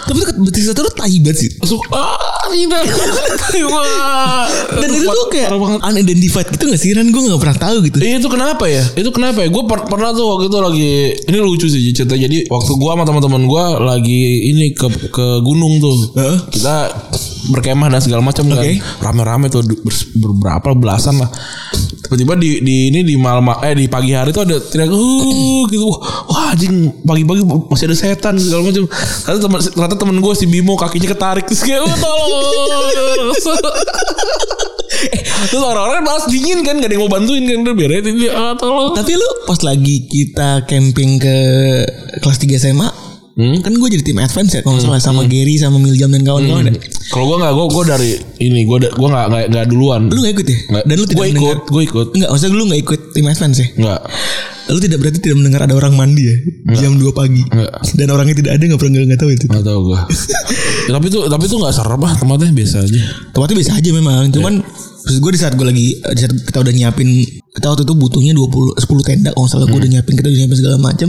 S3: Tapi itu betis satu tuh tai banget sih.
S2: Langsung ah tidak. Wah.
S3: Dan itu tuh kayak
S2: Parah banget.
S3: unidentified gitu gak sih Ran? Gue gak pernah tahu gitu.
S2: Iya itu kenapa ya? Itu kenapa ya? Gue pernah tuh waktu itu lagi ini lucu sih cerita. Jadi waktu gue sama teman-teman gue lagi ini ke ke gunung tuh.
S3: Heeh.
S2: Kita berkemah dan segala macam
S3: Oke.
S2: kan. Rame-rame tuh du- bers- beberapa belasan lah. Tiba-tiba di, di ini di malam eh di pagi hari tuh ada teriak "Huh," gitu. Wah, Wah, anjing pagi-pagi masih ada setan segala macam. Ternyata teman ternyata teman gue si Bimo kakinya ketarik terus kayak "Oh, tolong. Terus orang-orang malas dingin kan Gak ada yang mau bantuin kan Udah biar aja dia ah, tolong
S3: Tapi lu pas lagi kita camping ke kelas 3 SMA,
S2: Hmm?
S3: kan gue jadi tim advance ya kalau nggak salah sama Gary sama Miljam dan kawan-kawan.
S2: Hmm.
S3: ya.
S2: Kalau gue gak Gue gue dari Ini gue da, gue gak, gak, gak duluan
S3: Lu gak ikut ya?
S2: Nggak.
S3: Dan lu tidak
S2: Gue ikut
S3: mendengar-
S2: Gue ikut
S3: Enggak, maksudnya lu gak ikut tim Advance ya.
S2: Enggak.
S3: Lu tidak berarti tidak mendengar ada orang mandi ya jam 2 pagi.
S2: Enggak.
S3: Dan orangnya tidak ada nggak pernah nggak- nggak tahu itu.
S2: Enggak tahu gua. Ya, tapi tuh tapi tuh enggak serem ah tempatnya biasa aja.
S3: Tempatnya biasa aja memang. Cuman
S2: Iya.
S3: maksud gue di saat gue lagi di saat kita udah nyiapin kita waktu itu butuhnya 20 10 tenda kalau nggak salah
S2: Iya.
S3: gue udah nyiapin kita udah nyiapin segala macam.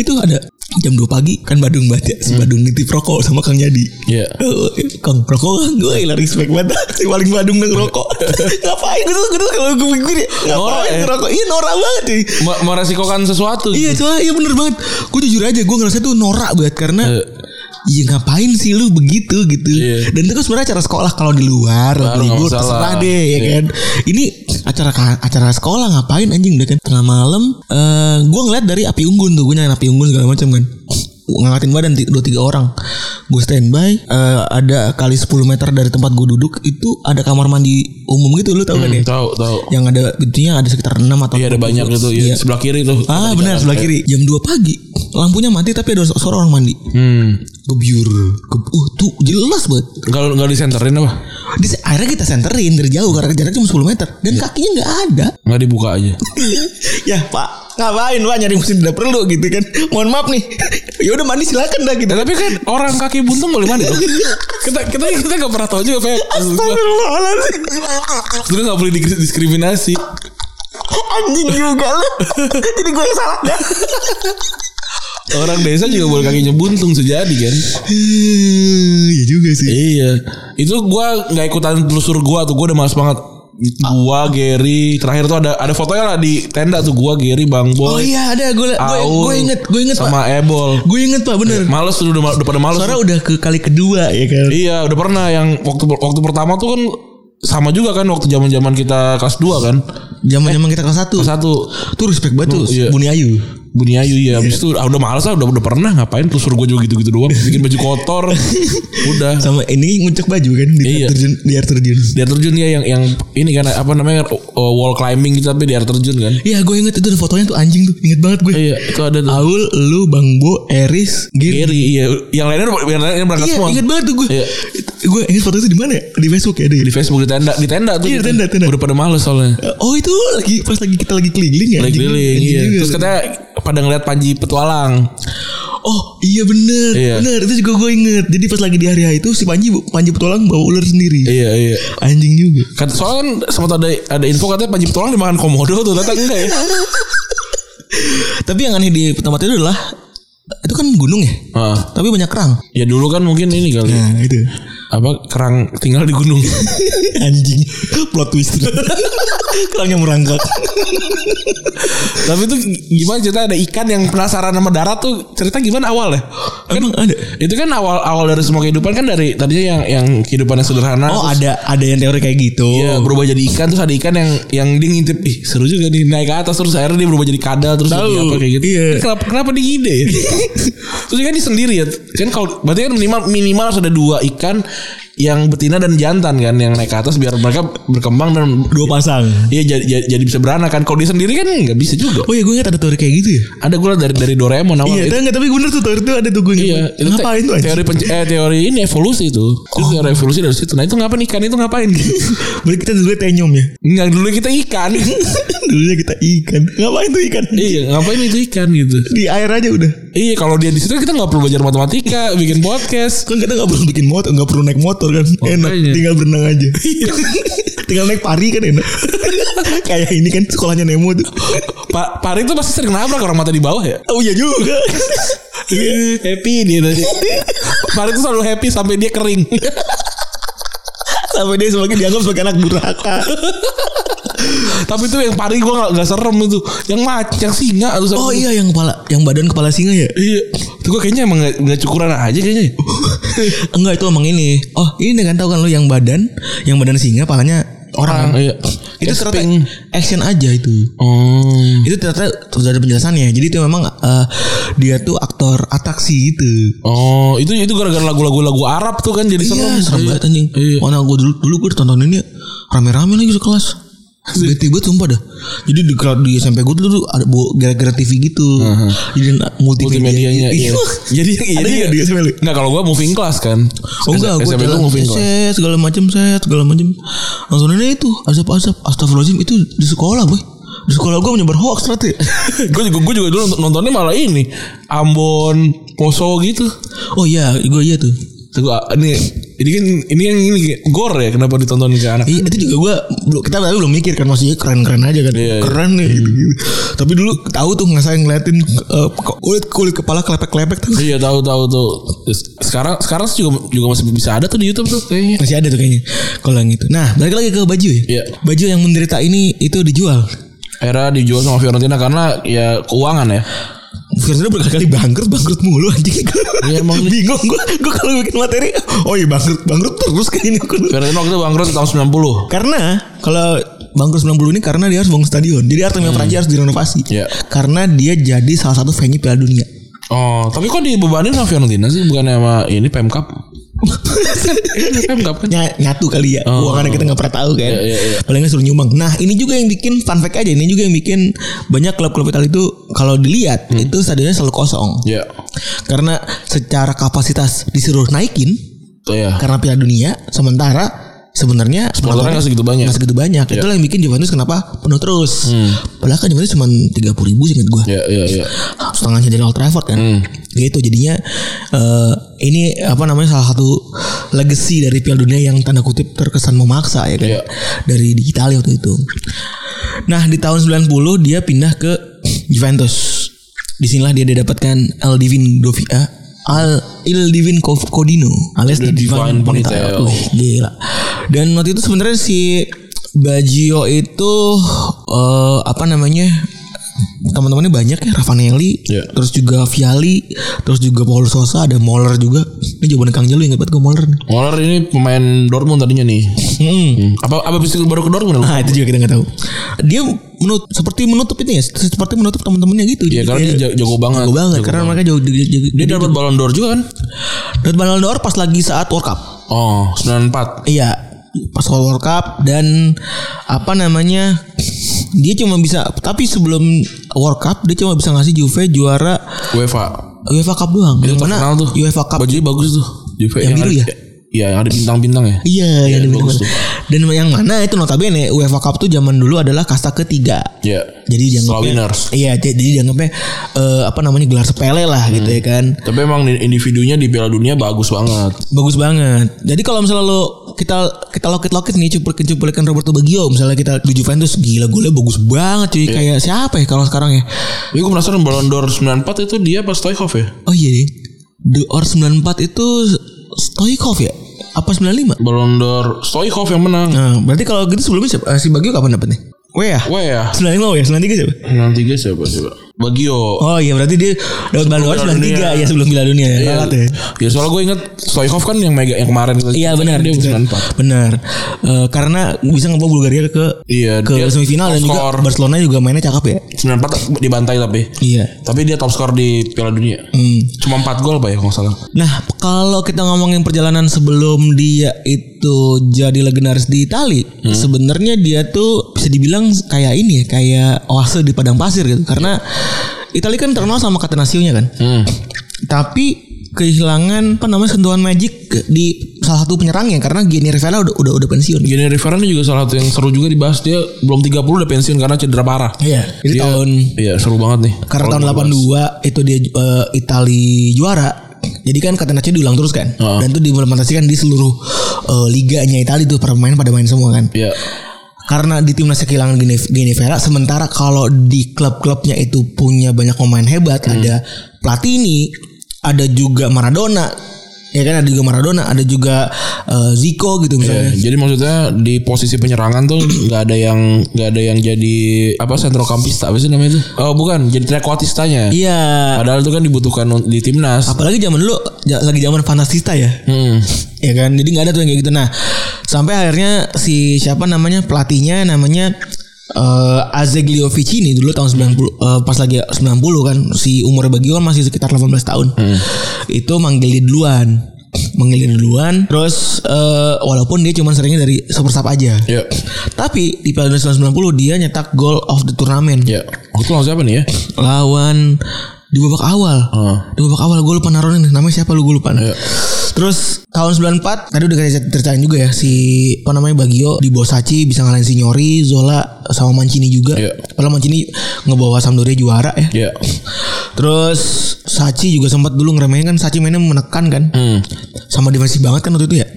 S3: Itu ada jam 2 pagi kan Badung banget ya si Badung nitip rokok sama Kang Yadi.
S2: Hmm. Iya.
S3: Oh, Kang rokok kan gue hilang respect banget Si paling Badung nang rokok Ngapain gue tuh gue tuh kalau gue pikir
S2: Norak
S3: ya, Ngapain
S2: ya?
S3: ngerokok Iya norak banget cuy
S2: Me- Meresikokan sesuatu.
S3: Iya
S2: gitu.
S3: soalnya iya bener banget Gue jujur aja gue ngerasa tuh norak banget Karena
S2: Eh.
S3: Iya ngapain sih lu begitu gitu
S2: Iya.
S3: Dan itu kan sebenarnya acara sekolah Kalau di luar
S2: Baru nggak
S3: libur
S2: masalah.
S3: terserah deh ya
S2: Iya.
S3: kan Ini acara ka- acara sekolah ngapain anjing udah kan Tengah malam eh Gue ngeliat dari api unggun tuh Gue nyalain api unggun segala macam kan ngangkatin badan ti- dua tiga orang gue standby eh, ada kali 10 meter dari tempat gue duduk itu ada kamar mandi umum gitu lu tau kan ya
S2: Hmm, tahu tahu.
S3: yang ada pintunya ada sekitar 6 atau
S2: Iya ada
S3: 10.
S2: banyak itu ya.
S3: Iya.
S2: Sebelah kiri tuh.
S3: Ah benar sebelah kiri. Jam 2 pagi lampunya mati tapi ada suara orang mandi.
S2: Hmm.
S3: Gebyur. Geb uh tuh jelas banget.
S2: Kalau nggak disenterin apa?
S3: Di akhirnya kita senterin dari jauh karena jaraknya cuma 10 meter dan kakinya nggak ada.
S2: Nggak dibuka aja.
S3: Iya. ya pak ngapain pak nyari musim tidak perlu gitu kan. Mohon maaf nih. ya udah mandi silakan dah gitu.
S2: Ya, tapi kan orang kaki buntung boleh mandi dong. Kita kita kita nggak pernah tahu juga Feb. Maksud gua,
S3: Astagfirullahaladzim.
S2: Sebenarnya nggak boleh di- diskriminasi.
S3: Anjing juga lu Jadi gue yang salah dah
S2: Orang desa juga boleh kakinya buntung sejadi kan.
S3: Iya juga sih
S2: Iya. Itu gua nggak ikutan telusur gua tuh. Gua udah males banget. Gua Gary terakhir tuh ada ada fotonya lah di tenda tuh gua Gary Bang
S3: Oh
S2: Boy.
S3: iya ada gue
S2: Aul,
S3: gue inget gue inget pak
S2: sama Ebol.
S3: Gue inget pak bener
S2: Males tuh udah, udah pada males.
S3: Suara udah ke kali kedua ya kan.
S2: Iya, udah pernah yang waktu waktu pertama tuh kan sama juga kan waktu zaman-zaman kita kelas 2 kan.
S3: Zaman zaman kita kelas satu.
S2: Kelas 1
S3: Tuh respect banget tuh
S2: Iya.
S3: Buni Ayu.
S2: Buniayu ya Abis itu ah, udah males ah udah, udah pernah ngapain Telusur gue juga gitu-gitu doang Bikin baju kotor Udah
S3: Sama ini ngucek baju kan di
S2: Iya.
S3: air terjun di air terjun.
S2: Dia terjun ya yang yang ini kan apa namanya uh, wall climbing gitu tapi di air terjun kan.
S3: Iya gue inget itu ada fotonya tuh anjing tuh inget banget gue.
S2: Iya, itu ada tuh.
S3: Aul, lu, Bang Bo, Eris, Gir.
S2: Gary iya, yang lainnya yang lainnya berangkat
S3: Iya
S2: semua.
S3: inget banget tuh gue.
S2: Iya.
S3: Itu- Gue inget foto itu di mana ya? Di Facebook ya deh.
S2: Di Facebook di tenda, di tenda tuh.
S3: Iya,
S2: gitu.
S3: tenda, tenda.
S2: Udah pada males soalnya.
S3: Oh itu lagi pas lagi kita lagi keliling ya.
S2: Lagi
S3: anjing.
S2: keliling
S3: Anjing
S2: iya.
S3: juga.
S2: Terus katanya pada ngeliat Panji Petualang.
S3: Oh iya bener
S2: Iya.
S3: Bener itu juga gue inget Jadi pas lagi di hari-hari itu Si Panji Panji Petualang bawa ular sendiri
S2: Iya, iya.
S3: Anjing juga
S2: Kata, soalnya kan sempat ada ada info katanya Panji Petualang dimakan komodo tuh, ternyata enggak ya.
S3: Tapi yang aneh di tempat itu adalah itu kan gunung ya.
S2: Heeh.
S3: Tapi banyak kerang.
S2: Ah. ya dulu kan mungkin ini kali.
S3: Nah, itu.
S2: Apa kerang tinggal di gunung.
S3: Anjing, plot twist. Kerang yang merangkak.
S2: Tapi itu gimana cerita ada ikan yang penasaran sama darat tuh cerita gimana awalnya?
S3: Emang ada.
S2: Itu kan awal awal dari semua kehidupan kan dari tadinya yang yang kehidupan yang sederhana.
S3: Oh,
S2: terus
S3: ada ada yang teori kayak gitu.
S2: Iya berubah jadi ikan terus ada ikan yang yang dia ngintip ih seru juga nih naik ke atas terus akhirnya dia berubah jadi kadal terus
S3: Tahu,
S2: jadi apa kayak gitu.
S3: iya.
S2: Ini Kenapa kenapa dia ngide ya? terus kan dia sendiri ya. Kan kalau berarti kan minimal minimal harus ada dua ikan yang betina dan jantan kan yang naik ke atas biar mereka berkembang dan
S3: Dua pasang.
S2: Iya jadi, jadi, jadi bisa beranak kan. Kalau dia sendiri kan nggak bisa juga.
S3: Oh ya gue ingat ada teori kayak gitu ya.
S2: Ada gue dari dari Doraemon awal Oh, itu.
S3: Iya, tapi enggak tapi bener tuh teori itu ada tuh gue. ingat.
S2: Iya, itu te-
S3: ngapain tuh anjing? Oh.
S2: teori penc- eh, teori ini evolusi itu. Itu teori evolusi dari situ. Nah, itu ngapain ikan itu ngapain?
S3: Berarti kita dulu tenyom ya.
S2: Enggak dulu kita ikan.
S3: Dulunya kita ikan. Ngapain tuh ikan?
S2: iya, ngapain itu ikan gitu.
S3: Di air aja udah.
S2: Iya, kalau dia di situ kita nggak perlu belajar matematika, bikin podcast.
S3: Kan kita gak perlu bikin motor, gak perlu naik motor kan. Enak,
S2: Makanya.
S3: tinggal berenang aja. tinggal naik pari kan enak. Kayak ini kan sekolahnya Nemo tuh.
S2: Pak Pari itu pasti sering nabrak orang mata di bawah ya.
S3: Oh iya juga.
S2: Iya, happy dia tadi. Pak Pari itu selalu happy sampai dia kering.
S3: Sampai dia sebagai dianggap sebagai anak durhaka.
S2: Tapi itu yang Pari gue nggak nggak serem itu. Yang macan, yang singa atau
S3: Oh iya yang kepala, yang badan kepala singa ya.
S2: Iya. Itu gue kayaknya emang nggak nggak cukuran aja kayaknya.
S3: Enggak itu emang ini. Oh ini kan tahu kan lo yang badan, yang badan singa, palanya orang.
S2: Orang, iya.
S3: Itu
S2: Kayak
S3: ternyata
S2: Sting.
S3: action aja itu.
S2: Oh.
S3: Itu ternyata sudah ada penjelasannya. Jadi itu memang eh, dia tuh aktor atraksi gitu.
S2: Oh, itu itu gara-gara lagu-lagu lagu Arab tuh kan jadi serem.
S3: Iya, serem banget anjing.
S2: Iya.
S3: Mana gue dulu dulu gue ditonton ini rame-rame lagi sekelas. Bete banget sumpah dah. Jadi di, kela- di SMP gue dulu ada bawa gara-gara TV gitu. Jadi na- multimedia.
S2: Multimedianya.
S3: Iya.
S2: iya. jadi
S3: Ada
S2: jadi
S3: nggak di SMP lu?
S2: Enggak kalau gua moving class kan.
S3: Oh enggak, gue
S2: SMP gua
S3: jalan
S2: moving class.
S3: set segala macam set segala macam. Langsung ini itu asap-asap astagfirullahaladzim itu di sekolah boy. di sekolah gue menyebar hoax berarti.
S2: gue juga gue juga dulu nontonnya malah ini Ambon Poso gitu
S3: oh iya, gue iya tuh.
S2: Tuh gua, ini ini kan ini kan ini gor ya kenapa ditonton ke anak
S3: Iya, itu juga gue belum kita tapi belum mikir kan maksudnya keren-keren aja kan.
S2: Iya, iya.
S3: Keren nih gitu, gitu. Tapi dulu tahu tuh ngerasain ngeliatin eh, kulit kulit kepala kelepek-kelepek tuh.
S2: Iya tahu tahu tuh. Sekarang sekarang sih juga juga masih bisa ada tuh di YouTube tuh kayaknya.
S3: Masih ada tuh kayaknya kalau yang itu. Nah, balik lagi ke baju ya.
S2: Iya.
S3: Baju yang menderita ini itu dijual.
S2: Era dijual sama Fiorentina karena ya keuangan ya.
S3: Fiorentina berkali-kali bangkrut, bangkrut mulu anjing.
S2: Iya, emang.
S3: bingung gue. Gue kalau bikin materi, oh iya bangkrut, bangkrut terus kayak ini.
S2: Fiorentina waktu itu bangkrut tahun 90.
S3: Karena kalau bangkrut 90 ini karena dia harus bangun stadion. Jadi Artemio Franchi harus direnovasi.
S2: Hmm. Iya.
S3: Karena dia jadi salah satu venue Piala Dunia.
S2: Oh, tapi kok dibebanin sama Fiorentina sih bukannya sama ini Pemkap? Ini Pemkap kan.
S3: Ny- nyatu kali ya Uangannya kita nggak pernah tahu kan
S2: Oh. Iya, iya, iya.
S3: Paling nggak suruh nyumbang Nah ini juga yang bikin Fun fact aja Ini juga yang bikin Banyak klub-klub Italia itu Kalau dilihat Itu stadionnya selalu kosong
S2: Hmm. Iya.
S3: Karena secara kapasitas Disuruh naikin
S2: Tuh ya.
S3: karena Piala Dunia sementara sebenarnya
S2: Supporternya
S3: penontonnya
S2: nggak Iya. segitu banyak.
S3: nggak segitu banyak itulah yang bikin Juventus kenapa penuh terus padahal kan Juventus cuma tiga puluh ribu ingat gue
S2: Iya iya iya. Hmm.
S3: setengahnya dari Old Trafford kan gitu jadinya eh, ini apa namanya salah satu legacy dari Piala Dunia yang tanda kutip terkesan memaksa ya kan
S2: Iya.
S3: dari di Italia waktu itu nah di tahun 90 dia pindah ke Juventus disinilah dia didapatkan El Divin Dovia Al Il Divin Co- Codino alias
S2: The
S3: The Divine
S2: Divine
S3: Ponytail.
S2: Ponytail.
S3: Wih, gila. Dan waktu itu sebenarnya si Baggio itu eh, apa namanya? Teman-temannya banyak ya Ravanelli,
S2: Iya.
S3: terus juga Viali, terus juga Paul Sosa, ada Moller juga. Ini jawaban Kang Jalu ingat banget ke Moller nih.
S2: Molar ini pemain Dortmund tadinya nih.
S3: Hmm.
S2: Apa apa bisa baru ke Dortmund?
S3: Ah, itu juga kita nggak tahu. Dia menut seperti menutup ini ya, seperti menutup teman-temannya gitu.
S2: Iya,
S3: Jadi
S2: karena
S3: kayak-
S2: dia jago- jago banget.
S3: Jago banget karena mereka jago jago- jago-
S2: Dia dapat Ballon d'Or juga kan?
S3: dapat Ballon d'Or pas lagi saat World Cup.
S2: Oh, 94.
S3: Iya pas World Cup dan apa namanya dia cuma bisa tapi sebelum World Cup dia cuma bisa ngasih Juve juara
S2: UEFA.
S3: UEFA Cup doang.
S2: Itu
S3: Yang mana
S2: Iya, terkenal tuh.
S3: UEFA Cup
S2: Bajunya bagus tuh. Juve
S3: Yang biru
S2: ada-
S3: ya?
S2: Iya, yang ada bintang-bintang ya.
S3: Iya, yang di
S2: bagus tuh.
S3: Dan yang mana itu notabene UEFA Cup tuh zaman dulu adalah kasta ketiga.
S2: Iya.
S3: Jadi
S2: Setelah
S3: dianggapnya
S2: winners.
S3: Iya, j- jadi dianggapnya eh, apa namanya gelar sepele lah gitu ya kan.
S2: Tapi emang individunya di Piala Dunia bagus banget.
S3: Bagus banget. Jadi kalau misalnya lo kita kita lokit-lokit nih cuplikan-cuplikan Roberto Baggio misalnya kita di Juventus gila golnya bagus banget cuy kayak siapa ya kalau sekarang ya?
S2: Tapi gue penasaran Ballon d'Or 94 itu dia pas Stoichkov ya?
S3: Oh iya. deh. The Or 94 itu Stoikov ya? Apa 95?
S2: Ballon d'Or Stoichkov yang menang.
S3: Nah, berarti kalau gitu sebelumnya siapa? Eh, Si Baggio kapan dapet nih? Wea.
S2: Wah ya.
S3: 95 ya, 93 siapa?
S2: 93 siapa coba? Bagio.
S3: Oh iya berarti dia dapat Ballon d'Or
S2: Piala
S3: 93
S2: Dunia.
S3: ya sebelum Piala Dunia ya.
S2: Iya,
S3: Lalat ya.
S2: ya soalnya gue inget Stoichkov kan yang mega yang kemarin kita-
S3: Iya benar.
S2: dia
S3: benar.
S2: 94.
S3: Benar. Eh, karena bisa ngebawa Bulgaria ke
S2: Iya,
S3: ke
S2: dia
S3: semifinal dan
S2: top
S3: juga
S2: score.
S3: Barcelona juga mainnya cakep ya.
S2: 94 dibantai tapi.
S3: Iya.
S2: Tapi dia top skor di Piala Dunia.
S3: Hmm.
S2: Cuma 4 gol Pak ya kalau nggak salah.
S3: Nah, kalau kita ngomongin perjalanan sebelum dia itu jadi legendaris di Itali,
S2: Hmm.
S3: sebenarnya dia tuh bisa dibilang kayak ini ya, kayak oase di padang pasir gitu. Karena Itali kan terkenal sama kata nasionya kan.
S2: Hmm.
S3: Tapi kehilangan apa namanya sentuhan magic di salah satu penyerangnya karena Gianni Rivella udah udah udah pensiun.
S2: Gini Rivera ini juga salah satu yang seru juga dibahas dia belum 30 udah pensiun karena cedera parah.
S3: Iya. Jadi
S2: Dia-
S3: tahun
S2: Iya seru banget nih.
S3: karena tahun 82 itu dia eh, Itali juara. Jadi kan kata Nacho diulang terus kan.
S2: Heeh.
S3: Dan itu diimplementasikan di seluruh eh, liganya Itali tuh para pemain pada main semua kan.
S2: Iya.
S3: Karena di timnas kehilangan Gene, Gene Vera, sementara kalau di klub-klubnya itu punya banyak pemain hebat,
S2: Hmm.
S3: ada Platini, ada juga Maradona. Ya kan ada juga Maradona, ada juga eh, Zico gitu
S2: Iya,
S3: misalnya.
S2: Jadi maksudnya di posisi penyerangan tuh nggak ada yang nggak ada yang jadi apa sentrokampista apa sih namanya itu? Oh bukan, jadi trequartistanya.
S3: Iya.
S2: Padahal itu kan dibutuhkan di timnas.
S3: Apalagi zaman dulu ja- lagi zaman fantasista ya.
S2: Hmm.
S3: ya kan jadi nggak ada tuh yang kayak gitu nah sampai akhirnya si siapa namanya pelatihnya namanya eh Azeglio Vicini dulu tahun 90 eh, pas lagi 90 kan si umur Baggio kan masih sekitar 18 tahun itu manggil dia duluan manggil dia duluan terus eh, walaupun dia cuma seringnya dari super sub aja
S2: Iya.
S3: tapi di Piala Dunia 1990 dia nyetak goal of the tournament
S2: Iya. Waktu lawan siapa nih ya?
S3: lawan di babak awal.
S2: Heeh.
S3: Di babak awal gue lupa naruhnya nih, namanya siapa lu gue lupa. Nah,
S2: Iya.
S3: nih. Terus tahun 94 tadi udah kita ceritain juga ya si apa namanya Bagio di Bosaci bisa ngalahin Signori, Zola sama Mancini juga.
S2: Iya.
S3: Padahal Mancini ngebawa Sampdoria juara ya.
S2: Iya.
S3: Terus Sachi juga sempat dulu ngeremehin kan Sachi mainnya menekan kan.
S2: Hmm.
S3: Sama defensif banget kan waktu itu ya.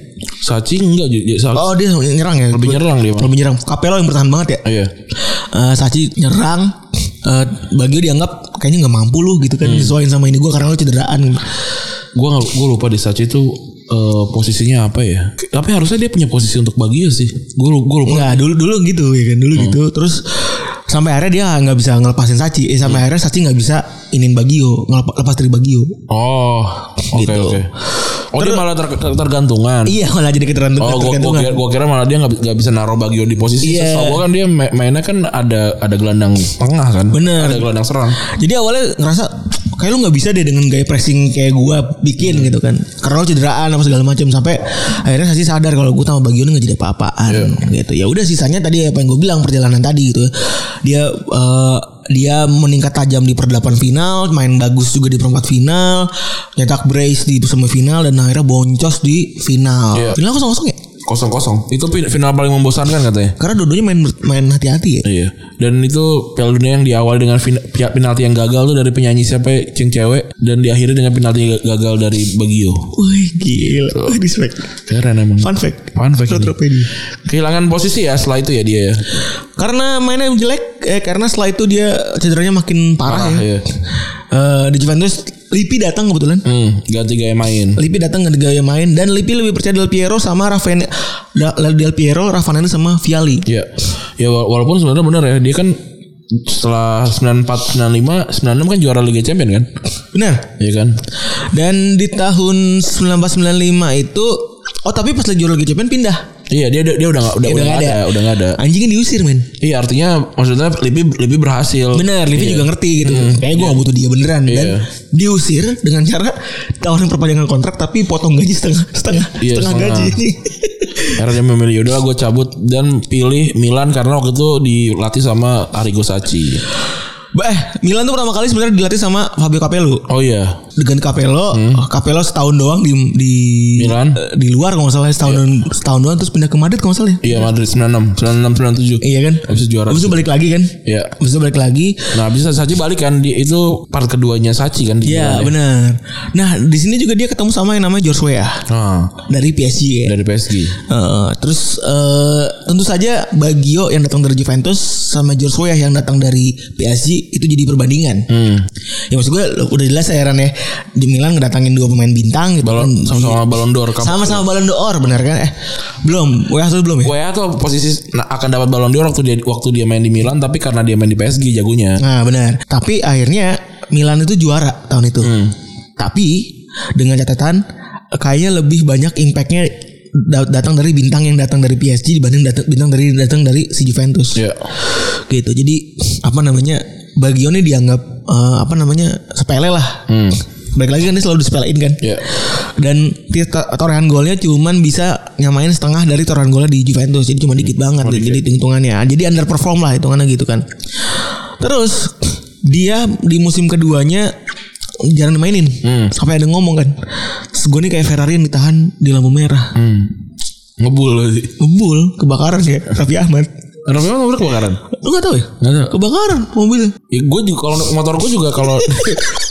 S2: Sachi enggak jadi Sachi
S3: Oh dia nyerang ya.
S2: lebih nyerang dia. Bang.
S3: Lebih nyerang. Capello yang bertahan banget ya.
S2: Iya.
S3: Eh, Sachi nyerang eh, Bagio dianggap kayaknya nggak mampu lu gitu kan
S2: Hmm.
S3: disesuaikan sama ini gua karena lu cederaan.
S2: Gua nggak- gua lupa di Sachi itu eh, posisinya apa ya? Tapi harusnya dia punya posisi untuk Bagio sih. Gua lu- gua lupa.
S3: Enggak, dulu dulu gitu ya kan,
S2: Hmm.
S3: dulu gitu. Terus sampai akhirnya dia nggak bisa ngelepasin Sachi. Eh
S2: Iya.
S3: sampai akhirnya Sachi nggak bisa inin Bagio, ngelepas lepas dari Bagio.
S2: Oh, oke
S3: Gitu.
S2: oke. Oh dia malah ter- ter- tergantungan.
S3: Iya, malah jadi ketergantungan.
S2: Oh, gua, gua, kira, gua kira malah dia nggak bi- nggak bisa naruh Bagio di posisi.
S3: Iya.
S2: Setahu gua kan dia ma- mainnya kan ada ada gelandang tengah kan.
S3: Bener.
S2: Ada gelandang serang.
S3: Jadi awalnya ngerasa kayak lu nggak bisa deh dengan gaya pressing kayak gua bikin gitu kan. Karena lu cederaan apa segala macam sampai akhirnya Sachi sadar kalau gua sama Bagio ini nggak jadi apa-apaan
S2: Iya.
S3: gitu. Ya udah sisanya tadi apa yang gua bilang perjalanan tadi gitu. Dia eh, dia meningkat tajam di perdelapan final, main bagus juga di perempat final, nyetak brace di semifinal dan akhirnya boncos di final.
S2: Iya.
S3: Final kosong-kosong ya?
S2: Kosong kosong. Itu fin- final paling membosankan katanya.
S3: Karena dua-duanya main main hati-hati ya.
S2: Iya. Dan itu Piala Dunia yang diawali dengan fin- pihak penalti yang gagal tuh dari penyanyi siapa ya? Cing cewek dan diakhiri dengan penalti yang gagal dari Bagio.
S3: Wih gila,
S2: Gitu.
S3: Wih, respect.
S2: Keren emang.
S3: Fun fact.
S2: Fun fact ini.
S3: Retropedia.
S2: Kehilangan posisi ya setelah itu ya dia ya.
S3: Karena mainnya jelek, eh karena setelah itu dia cederanya makin parah,
S2: Parah,
S3: ya.
S2: iya.
S3: Eh, di Juventus Lippi datang kebetulan.
S2: Hmm, ganti gaya main.
S3: Lippi datang nggak gaya main dan Lippi lebih percaya Del Piero sama Rafael Del Piero, Ravanelli sama Viali.
S2: Ya, ya wa- walaupun sebenarnya benar ya dia kan setelah 94 95 96 kan juara Liga Champion kan?
S3: Benar.
S2: Iya kan?
S3: Dan di tahun 1995 itu oh tapi pas lagi juara Liga Champions pindah.
S2: Iya, dia dia udah nggak udah,
S3: Ya,
S2: udah nggak ada. udah nggak ada.
S3: Anjingnya diusir, men.
S2: Iya, artinya maksudnya lebih lebih berhasil.
S3: Benar, Livi juga ngerti gitu. Kayaknya gue gak butuh dia beneran dan
S2: Hmm. Iya.
S3: diusir dengan cara tawarin perpanjangan kontrak tapi potong gaji setengah setengah
S2: Iya,
S3: setengah
S2: setengah.
S3: gaji ini.
S2: Karena dia memilih udahlah gue cabut dan pilih Milan karena waktu itu dilatih sama Arrigo Sacchi.
S3: Bah, eh, Milan tuh pertama kali sebenarnya dilatih sama Fabio Capello.
S2: Oh iya,
S3: Dengan Capello, oh, Capello setahun doang di di
S2: Hmm. Milan.
S3: eh, di luar kalau nggak salah setahun setahun doang terus pindah ke Madrid kalau nggak salah. ya.
S2: iya Madrid 96, 96 97.
S3: Iya kan?
S2: Habis itu juara.
S3: Habis itu balik lagi kan?
S2: Iya.
S3: Habis itu balik lagi.
S2: Nah, habis itu Sacchi balik kan di, itu part keduanya Sacchi kan di
S3: Iya,
S2: Milan ya.
S3: benar. Nah, di sini juga dia ketemu sama yang namanya George Weah
S2: Nah,
S3: dari PSG ya.
S2: dari PSG.
S3: Uh, terus uh, tentu saja Bagio yang datang dari Juventus sama George Weah yang datang dari PSG itu jadi perbandingan.
S2: Hmm.
S3: Ya maksud gue lo- udah jelas ya Ran ya di Milan ngedatangin dua pemain bintang gitu
S2: Balon
S3: kan.
S2: sama-sama Ballon d'Or. Kamu-
S3: Sama-sama Ballon d'Or benar kan? Eh belum, Weah tuh belum ya?
S2: WA tuh posisi nah, akan dapat balon d'Or waktu dia waktu dia main di Milan tapi karena dia main di PSG jagonya.
S3: Nah benar. Tapi akhirnya Milan itu juara tahun itu.
S2: Hmm.
S3: Tapi dengan catatan eh, kayaknya lebih banyak impactnya da- datang dari bintang yang datang dari PSG dibanding datang bintang dari datang dari si Juventus.
S2: Iya.
S3: gitu jadi apa namanya Bagio ini dianggap eh, apa namanya sepele lah
S2: Hmm.
S3: balik lagi kan dia selalu disepelein kan
S2: Iya.
S3: dan dia to- torehan golnya cuman bisa nyamain setengah dari torehan golnya di Juventus jadi cuma dikit banget jadi hitungannya jadi underperform lah hitungannya gitu kan terus dia di musim keduanya jarang dimainin
S2: Hmm.
S3: sampai ada ngomong kan gue nih kayak Ferrari yang ditahan di lampu merah
S2: Hmm. Ngebul.
S3: ngebul kebakaran ya Raffi Ahmad
S2: Rafi emang nabrak kebakaran?
S3: lu nggak tahu ya
S2: Nggak tahu.
S3: kebakaran mobilnya
S2: Ya, gue juga kalau motor gue juga kalau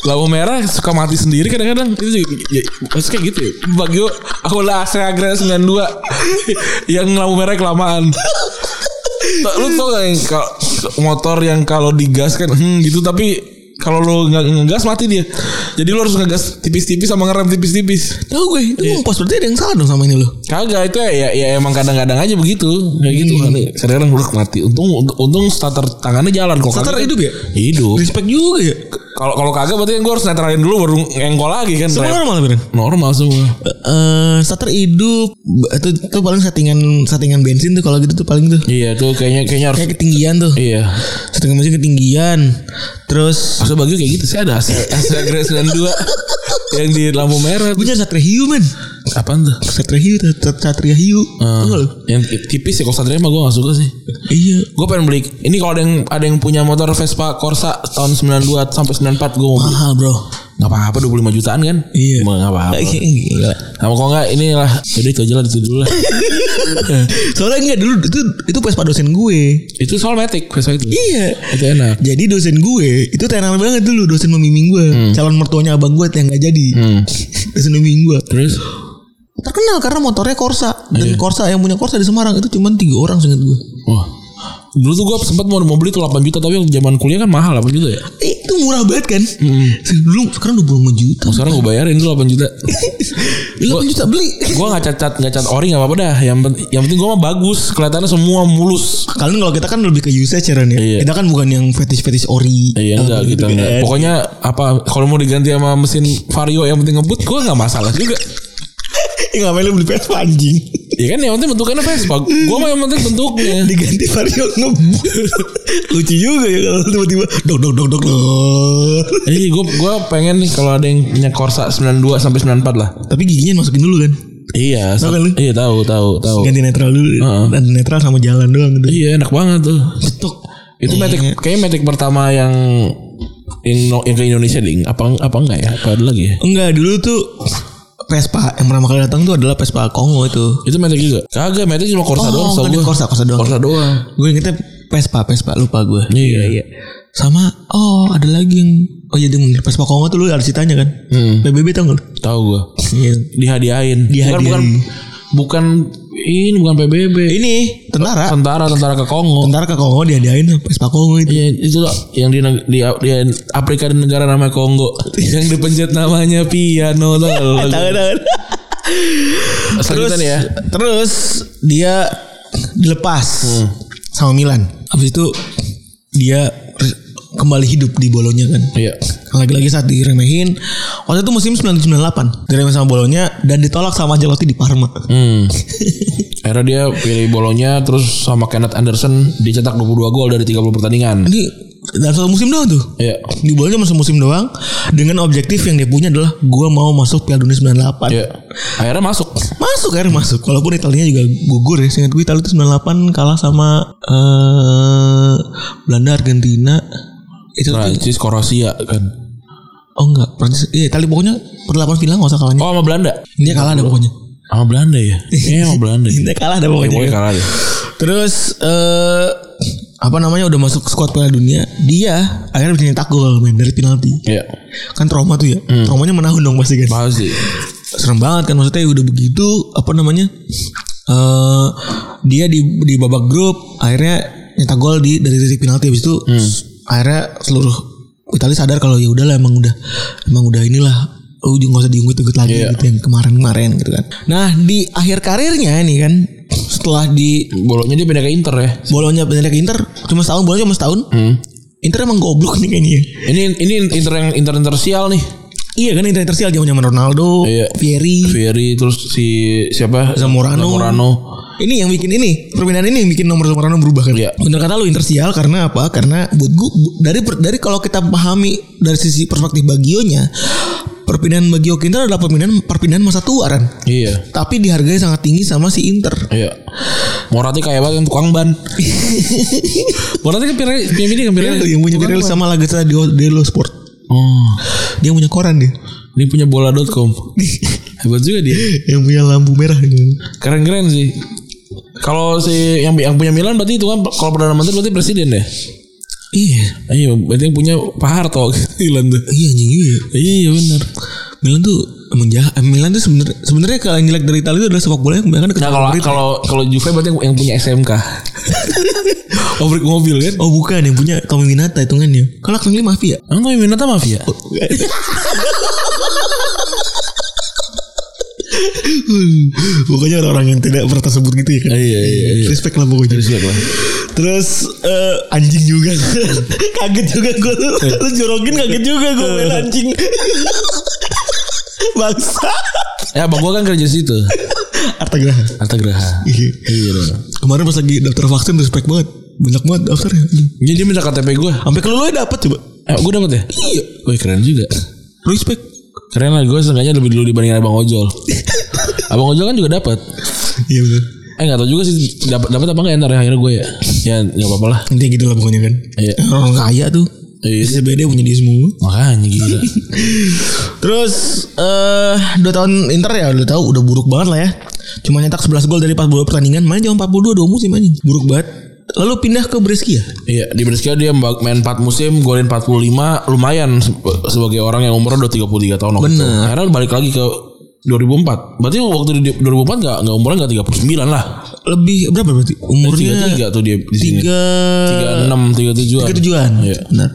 S2: lampu merah suka mati sendiri kadang-kadang itu juga ya, maksudnya kayak gitu ya. Bagio aku lah Astra Agra 92 yang lampu merah kelamaan. Tau- lu tau gak yang kal- motor yang kalau digas kan hmm, gitu tapi kalau lu nggak ngegas mati dia. Jadi lu harus ngegas tipis-tipis sama ngerem tipis-tipis.
S3: Tahu gue, itu ngumpos berarti ada yang salah dong sama ini loh.
S2: Kagak itu ya, ya emang kadang-kadang aja begitu kayak gitu kan kadang-kadang udah mati untung untung starter tangannya jalan kok
S3: Starter
S2: kagak-
S3: hidup ya?
S2: hidup
S3: Respect juga ya.
S2: kalau kalau kagak berarti gue harus netralin dulu baru engkol lagi kan
S3: Semua
S2: Rep.
S3: normal bener.
S2: normal semua
S3: Eh, starter hidup B- itu, itu paling settingan settingan bensin tuh kalau gitu tuh paling tuh
S2: iya tuh kayaknya kayaknya harus
S3: kayak ketinggian tuh
S2: iya
S3: settingan bensin ketinggian terus
S2: maksud bagi kayak gitu sih ada Astra Astra Grace 92 yang di lampu merah
S3: gue jadi satria hiu men Ah.
S2: Apaan tuh?
S3: Satria Hiu, Sat- Sat- Satria Hiu.
S2: Eh,
S3: Tau gak lu?
S2: yang tipis ya kalau Satria mah gue gak suka sih.
S3: Iya.
S2: Gue pengen beli. Ini kalau ada yang ada yang punya motor Vespa Corsa tahun 92 sampai 94 gue mau beli.
S3: Mahal bro.
S2: Gak apa-apa 25 jutaan kan?
S3: Iya.
S2: Emang Gak apa-apa.
S3: Gila.
S2: Sama kok enggak inilah. Jadi itu aja lah itu dulu lah.
S3: Soalnya enggak dulu itu itu Vespa dosen gue.
S2: itu soal matic Vespa itu.
S3: Iya.
S2: Itu enak.
S3: Jadi dosen gue itu tenar banget dulu dosen membimbing gue. Calon mertuanya abang gue yang nggak jadi. dosen membimbing gue.
S2: Terus
S3: Terkenal karena motornya Corsa dan Corsa yang punya Corsa di Semarang itu cuma tiga orang seingat gue.
S2: wah. Dulu tuh gue sempet mau, mau beli tuh 8 juta tapi zaman kuliah kan mahal 8 juta ya.
S3: Eh, itu murah banget kan? Dulu sekarang udah puluh juta.
S2: Mau sekarang gue bayarin tuh 8 juta.
S3: 8 juta beli.
S2: gue nggak cacat nggak cacat ori nggak apa-apa dah. Yang penting yang penting gue mah bagus kelihatannya semua mulus.
S3: Kalian kalau kita kan lebih ke usage ya Ren, ya.
S2: Iya.
S3: Kita kan bukan yang fetish-fetish ori.
S2: Iya
S3: apa
S2: enggak
S3: gitu
S2: kita
S3: kan.
S2: enggak. Pokoknya apa kalau mau diganti sama mesin Vario yang penting ngebut gue nggak masalah juga.
S3: Eh, ngapain lu beli Vespa anjing?
S2: Ya kan yang penting bentukannya Vespa. Gue mah yang penting bentuknya.
S3: Diganti Vario ngebut. Lucu juga ya kalau tiba-tiba dok dok dok dok dok.
S2: Jadi gue gue iya, pengen nih kalau ada yang punya Corsa 92 sampai 94 lah.
S3: Tapi giginya masukin dulu kan.
S2: Iya,
S3: Tahu
S2: sa-
S3: kan lu?
S2: iya tahu tahu tahu.
S3: Ganti netral dulu.
S2: Heeh.
S3: Ganti netral sama jalan doang gitu.
S2: Iya enak banget tuh.
S3: Betok.
S2: Itu
S3: Iya.
S2: metik kayaknya metik pertama yang yang, yang ke Indonesia ding. Apa apa enggak ya? Apa ada lagi ya?
S3: Enggak, dulu tuh Vespa yang pertama kali datang tuh adalah Vespa Kongo itu.
S2: Itu metik juga. Kagak metik cuma Corsa
S3: Oh,
S2: doang.
S3: bukan
S2: setahu gua.
S3: Corsa, Corsa doang.
S2: Corsa doang.
S3: Gue ingetnya Vespa, Vespa lupa gue.
S2: Iya.
S3: Sama oh ada lagi yang oh iya dong Vespa Kongo tuh lu harus ditanya kan.
S2: Hmm.
S3: PBB tau gak lu?
S2: Tahu gue.
S3: Iya.
S2: Dihadiahin.
S3: Dihadiahin.
S2: Bukan, bukan bukan ini bukan PBB.
S3: Ini tentara.
S2: Eh, Tentara tentara ke Kongo.
S3: Tentara ke Kongo diadain Vespa Kongo itu.
S2: Iya itu loh yang di, neg- di, di Afrika dan negara namanya Kongo yang dipencet namanya piano tau nggak lu lagu?
S3: Tangan-tangan.
S2: Selanjutnya nih ya.
S3: Terus dia dilepas
S2: Hmm.
S3: sama Milan. Habis itu dia re- kembali hidup di Bolonya kan.
S2: Iya.
S3: Lagi-lagi saat diremehin Waktu itu musim 97-98 Diremehin sama Bolonya Dan ditolak sama Ancelotti di Parma
S2: Hmm. Akhirnya dia pilih bolonya terus sama Kenneth Anderson dicetak 22 gol dari 30 pertandingan.
S3: Ini dalam satu musim doang tuh
S2: Iya.
S3: Di Bolonya masuk musim doang Dengan objektif yang dia punya adalah Gue mau masuk Piala Dunia 98
S2: Iya. Akhirnya masuk.
S3: Masuk akhirnya masuk Walaupun Italia juga gugur ya Seingat gue Italia itu 98 kalah sama eh Belanda Argentina Itu tuh-
S2: Prancis Kroasia kan.
S3: Oh enggak Prancis Iya Italia pokoknya Perlapan final gak usah kalahnya
S2: Oh sama Belanda.
S3: Dia kalah ada pokoknya
S2: Sama Belanda ya. Iya sama Belanda. Ya,
S3: Dia kalah ada pokoknya
S2: Pokoknya kalah deh.
S3: Terus eh apa namanya udah masuk skuad Piala Dunia, dia akhirnya bikin tak gol men dari penalti.
S2: Iya.
S3: Kan trauma tuh ya. Traumanya menahun dong pasti kan.
S2: Pasti.
S3: Serem banget kan maksudnya udah begitu apa namanya? eh dia di di babak grup akhirnya nyetak gol di dari titik penalti habis itu akhirnya seluruh Italia sadar kalau ya udahlah emang udah emang udah inilah ujung nggak usah diungkit-ungkit lagi
S2: Iya.
S3: gitu yang kemarin-kemarin gitu kan. Nah di akhir karirnya ini kan setelah di
S2: Bolonya dia pindah ke Inter ya.
S3: Bolonya pindah ke Inter cuma setahun Bolonya cuma setahun Inter emang goblok nih kayaknya
S2: Ini ini Inter yang Inter Inter sial nih.
S3: iya kan Inter Inter sial zaman zaman Ronaldo
S2: Iya.
S3: Vieri
S2: Ferry terus si siapa?
S3: Zamorano.
S2: Zamorano.
S3: ini yang bikin ini permintaan ini yang bikin nomor Ronaldo berubah kan
S2: Iya.
S3: bener kata lu Inter sial karena apa karena buat gua bu- dari per- dari kalau kita pahami dari sisi perspektif Bagionya perpindahan Bagio ke Inter adalah perpindahan perpindahan masa tua kan
S2: Iya.
S3: tapi dihargai sangat tinggi sama si Inter
S2: Iya. Morati kayak banget yang tukang ban. Morati kan Pirelli, Pirelli kan Pirelli.
S3: yang punya Pirelli sama Lagazza di Delo Sport
S2: Oh,
S3: dia punya koran dia
S2: ini punya bola.com. Hebat juga dia.
S3: yang punya lampu merah gitu.
S2: Keren-keren sih. Kalau si yang yang punya Milan berarti itu kan kalau perdana menteri berarti presiden deh.
S3: iya
S2: Iya, berarti yang punya Pak Harto Milan tuh.
S3: Iya anjing iya.
S2: Iya benar.
S3: Milan tuh emang jahat. Eh, Milan tuh sebenarnya sebenarnya kalau yang jelek dari Italia itu adalah sepak bola yang kebanyakan dekat
S2: Nah kalau
S3: Madrid.
S2: kalau kalau Juve berarti yang, yang punya SMK. Pabrik mobil kan?
S3: Oh bukan yang punya Tommy Winata hitungannya. Kalau Kang Lee mafia.
S2: Emang kau minta mafia?
S3: Pokoknya orang-orang yang tidak pernah tersebut gitu ya kan.
S2: Iya iya. iya.
S3: Respect lah pokoknya. Terus eh, anjing juga. kaget juga gue. Lu, lu jorokin kaget juga gue main anjing. Bangsa.
S2: Ya abang gua kan kerja di situ.
S3: Arta Graha.
S2: Arta Graha.
S3: Iya.
S2: Iya. dong.
S3: Kemarin pas lagi daftar vaksin respect banget. Banyak banget daftarnya.
S2: Jadi dia minta KTP gue.
S3: Sampai kelulunya dapat coba.
S2: Eh, gue dapat ya? Iya. Wih keren juga.
S3: Respect.
S2: Keren lah gue seenggaknya lebih dulu dibandingin Abang Ojol. Abang ojol kan juga dapat.
S3: Iya betul.
S2: Eh nggak tahu juga sih dapat dapat apa nggak ya, ntar ya, akhirnya gue ya. Ya nggak apa-apa lah.
S3: Intinya gitu lah pokoknya kan.
S2: Iya.
S3: Orang kaya tuh.
S2: Iya.
S3: SBD punya dia semua.
S2: Makanya gila.
S3: Terus eh dua tahun Inter ya udah tahu udah buruk banget lah ya. Cuma nyetak 11 gol dari 42 pertandingan. Main cuma 42 dua musim anjing. Buruk banget. Lalu pindah ke Brescia.
S2: iya, di Brescia dia mbak- main 4 musim, golin 45, lumayan se- sebagai orang yang umurnya udah 33 tahun waktu itu.
S3: Bener.
S2: Akhirnya balik lagi ke 2004. Berarti waktu di 2004 enggak enggak umurnya enggak 39 lah. Eh,
S3: Lebih berapa berarti? Umurnya
S2: 33 tuh dia di sini.
S3: 3
S2: 36, 37.
S3: tiga tujuan
S2: Iya.
S3: benar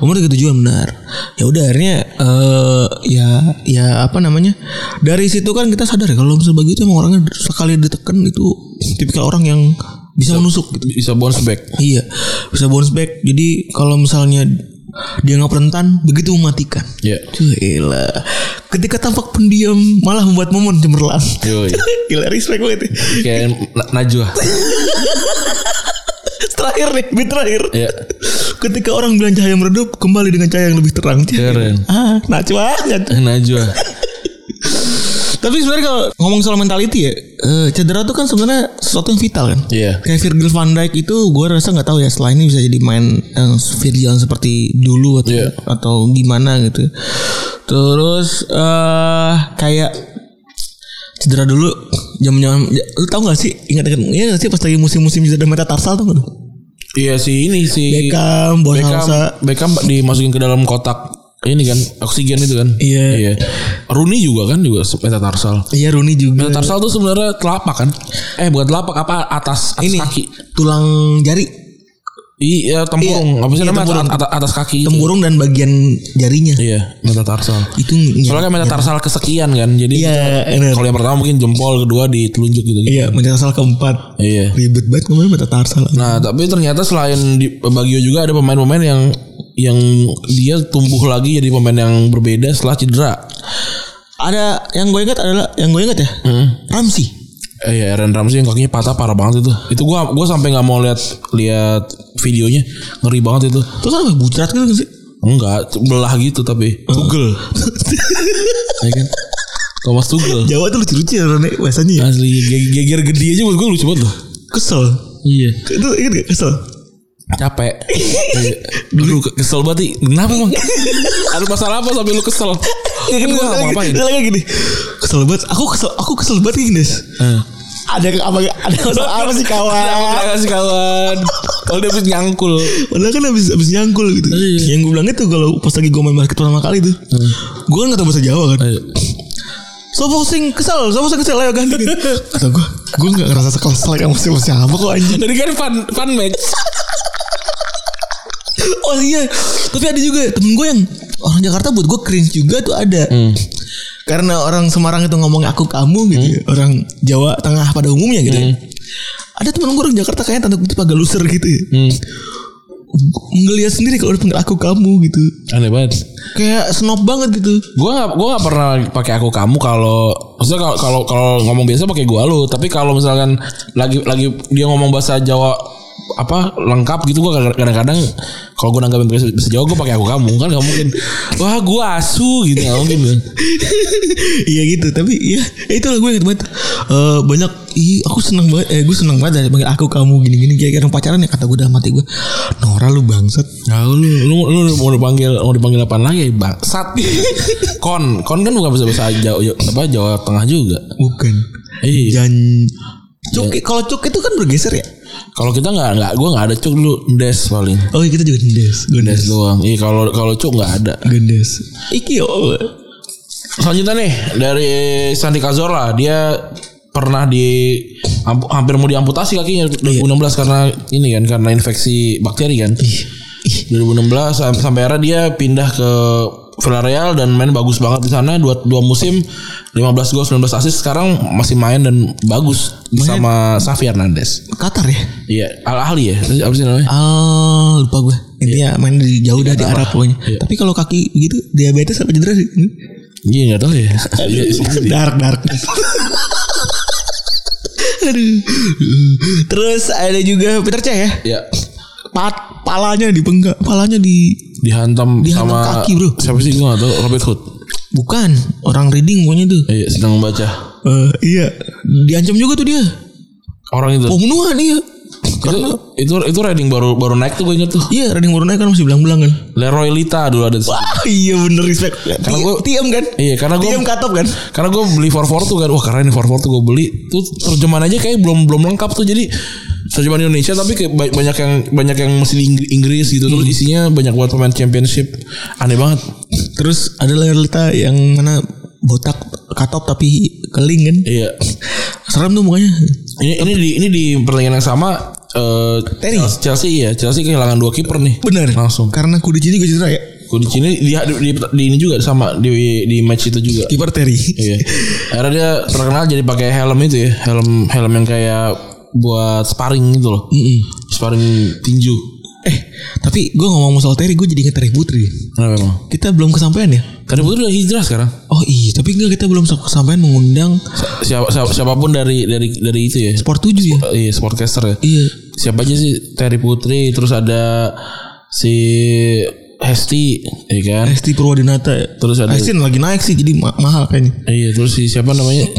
S3: umur tiga tujuan benar ya udah akhirnya eh ya ya apa namanya dari situ kan kita sadar ya kalau misalnya begitu emang orangnya sekali ditekan itu tipikal orang yang bisa menusuk gitu
S2: Bisa bounce back.
S3: iya bisa bounce back jadi kalau misalnya dia nggak rentan begitu mematikan
S2: Iya.
S3: Duh, elah. ketika tampak pendiam malah membuat momen cemerlang
S2: Yoi.
S3: gila respect banget ya.
S2: Kayak Na- Najwa.
S3: terakhir nih beat terakhir
S2: Iya.
S3: Ketika orang bilang cahaya meredup, kembali dengan cahaya yang lebih terang.
S2: Keren.
S3: Ah, nah banget.
S2: Najwa.
S3: Tapi sebenarnya kalau ngomong soal mentality ya, eh, cedera tuh kan sebenarnya sesuatu yang vital kan.
S2: Iya.
S3: Kayak Virgil van Dijk itu gue rasa nggak tahu ya setelah ini bisa jadi main yang Virgil yang seperti dulu atau
S2: Iya.
S3: atau gimana gitu. Terus eh kayak cedera dulu zaman-zaman ya, lu tau gak sih ingat-ingat ya gak sih pas lagi musim-musim cedera metatarsal tuh gak tuh?
S2: Iya si ini si
S3: Beckham,
S2: Beckham,
S3: Bonhausa,
S2: Beckham dimasukin ke dalam kotak ini kan oksigen itu kan.
S3: Iya.
S2: Iya. Rooney juga kan juga metatarsal.
S3: iya Rooney juga.
S2: Metatarsal tuh sebenarnya telapak kan? Eh bukan telapak apa atas, atas
S3: ini
S2: kaki.
S3: tulang jari
S2: Iya tempurung.
S3: Iya,
S2: apa sih
S3: iya,
S2: namanya
S3: tempurung.
S2: atas, atas- atas kaki. itu.
S3: tempurung dan bagian jarinya
S2: Iya metatarsal.
S3: itu ny-
S2: Soalnya kan metatarsal kesekian kan. Jadi
S3: iya bener.
S2: kalau yang pertama mungkin jempol, kedua ditelunjuk gitu.
S3: iya metatarsal keempat
S2: Iya.
S3: ribet banget ngomongnya metatarsal
S2: Nah, tapi ternyata selain di Bagio juga ada pemain-pemain yang yang dia tumbuh lagi jadi pemain yang berbeda setelah cedera.
S3: ada yang gue ingat adalah yang gue ingat ya
S2: Hmm.
S3: Ramsey
S2: Eh, ya Aaron Ramsey yang kakinya patah parah banget itu. Itu gua gua sampai nggak mau lihat lihat videonya. Ngeri banget itu.
S3: terus apa bucrat gitu nggak sih
S2: Enggak, belah gitu tapi. Tugel. Ya kan? Thomas Tugel.
S3: Jawa tuh lucu-lucu ya Rone, bahasanya ya.
S2: Asli ge- geger gede aja buat gua lucu banget loh.
S3: Kesel.
S2: Iya.
S3: Itu ingat gak kesel?
S2: Capek. Iya. Aduh kesel banget. Ih. Kenapa, Bang? Ada masalah apa sampai lu kesel? Kan gua nggak ngapain.
S3: Dia lagi gini. Kesel banget. Aku kesel, aku kesel banget gini, Des.
S2: Eh.
S3: Ada apa ada masalah apa sih kawan?
S2: Terima kasih kawan. Kalau dia habis nyangkul.
S3: Padahal kan abis, abis nyangkul gitu
S2: Iya.
S3: Yang gue bilang itu kalau pas lagi gue main basket pertama kali tuh Gue kan gak tau bahasa Jawa kan
S2: Eh.
S3: Sopo sing kesel, sopo sing kesel, ayo ganti gitu Kata gue, gue gak ngerasa sekelas lah kamu siapa siapa kok anjing
S2: Tadi kan fun fun match.
S3: Oh iya, tapi ada juga temen gue yang orang Jakarta buat gue cringe juga tuh ada Karena orang Semarang itu ngomong aku kamu gitu ya. Orang Jawa Tengah pada umumnya gitu ya. Ada temen gue orang Jakarta kayaknya tanda kutip agak loser gitu ya Menggeliat sendiri kalau dipanggil aku kamu gitu
S2: Aneh banget.
S3: Kayak snob banget gitu
S2: Gue gak, gua nggak pernah pakai aku kamu kalau maksudnya kalau kalau, kalau ngomong biasa pakai gua lu tapi kalau misalkan lagi lagi dia ngomong bahasa Jawa apa lengkap gitu gua kadang-kadang kalau gua nanggapin bahasa bahasa Jawa gua pakai aku kamu kan gak mungkin wah gua asu gitu gak mungkin
S3: iya gitu tapi ya itu lah gue inget banget Eh, banyak ih aku seneng banget eh gue seneng banget dari panggil aku kamu gini gini kayak orang pacaran ya kata gue udah mati gue Nora lu bangsat
S2: Nah, lu, lu, lu, lu mau dipanggil mau dipanggil apa lagi bangsat kon kon kan bukan bahasa bahasa Jawa apa Jawa Tengah juga
S3: bukan
S2: iya
S3: jan cuk kalau cuk itu kan bergeser ya
S2: kalau kita nggak nggak gua nggak ada cuk dulu des paling
S3: oh iya kita juga gendes
S2: des
S3: gendes
S2: doang iya kalau kalau cuk nggak ada
S3: gendes iki ya yo
S2: Selanjutnya nih dari Santi Cazorla dia pernah di ampu- hampir mau diamputasi kakinya 2016 karena ini kan karena infeksi bakteri kan.
S3: Iya.
S2: 2016 sam- sampai akhirnya dia pindah ke Villarreal dan main bagus banget di sana dua, dua musim 15 gol 19 assist sekarang masih main dan bagus sama Xavi Hernandez.
S3: Qatar ya
S2: Iya, Al Ahli ya. Apa sih namanya?
S3: Ah lupa gue Intinya main di jauh dari Arab pokoknya
S2: Iya.
S3: Tapi kalau kaki gitu Diabetes apa cedera sih Hmm?
S2: Iya, enggak tahu ya. Iya, iya.
S3: dark dark aduh terus ada juga Peter Cech ya
S2: Iya.
S3: pat palanya di palanya di
S2: Dihantam,
S3: Dihantam
S2: sama
S3: kaki, bro.
S2: Siapa sih gua enggak tahu, Robert Hood.
S3: bukan orang reading pokoknya tuh
S2: Iya, sedang membaca.
S3: Eh, iya, diancam juga tuh dia.
S2: Orang itu.
S3: Pembunuhan iya.
S2: itu itu itu Redding baru baru naik tuh gue inget tuh.
S3: Iya, Reading Morona kan masih bilang-bilang kan.
S2: Leroy Lita dulu ada.
S3: Wah, iya bener respect. Karena
S2: gua-
S3: tiam kan.
S2: Iya, karena gua-
S3: tiam katop kan.
S2: Karena gue beli 44 tuh kan Wah keren nih 44 tuh gue beli Tuh terjemahan aja kayak belum belum lengkap tuh Jadi terjemahan Indonesia Tapi kayak ba- banyak yang Banyak yang mesti di Inggr- Inggris gitu
S3: Hmm.
S2: Terus isinya banyak buat pemain championship Aneh banget
S3: Terus ada Lerlita yang mana botak katop tapi keling kan.
S2: Iya
S3: Serem tuh mukanya.
S2: Ini, ini di ini di pertandingan yang sama eh
S3: Terry.
S2: Chelsea, Chelsea ya Chelsea kehilangan dua kiper nih
S3: Bener.
S2: Langsung
S3: Karena Kudici juga cedera ya.
S2: Gue di sini di, di, di ini juga sama Di, di match itu juga
S3: Kiper Terry.
S2: Iya. Akhirnya dia terkenal jadi pakai helm itu ya, helm helm yang kayak buat sparring gitu loh. Sparring tinju.
S3: eh, tapi gue ngomong soal Terry, gue jadi inget Terry Putri.
S2: Kenapa emang?
S3: Kita belum kesampaian ya?
S2: Tadi putri udah hijrah sekarang.
S3: Oh iya, tapi enggak kita belum kesampaian mengundang
S2: Siapa, siapa- siapapun dari dari dari itu ya.
S3: Sport 7 ya.
S2: Eh, Iya, sportcaster ya.
S3: Iya.
S2: Siapa aja sih? Terry Putri, terus ada si Hesti, ya kan?
S3: Esti Purwadinata ya.
S2: Terus ada
S3: Esti lagi naik sih jadi ma- mahal kayaknya.
S2: Iya, terus si siapa namanya?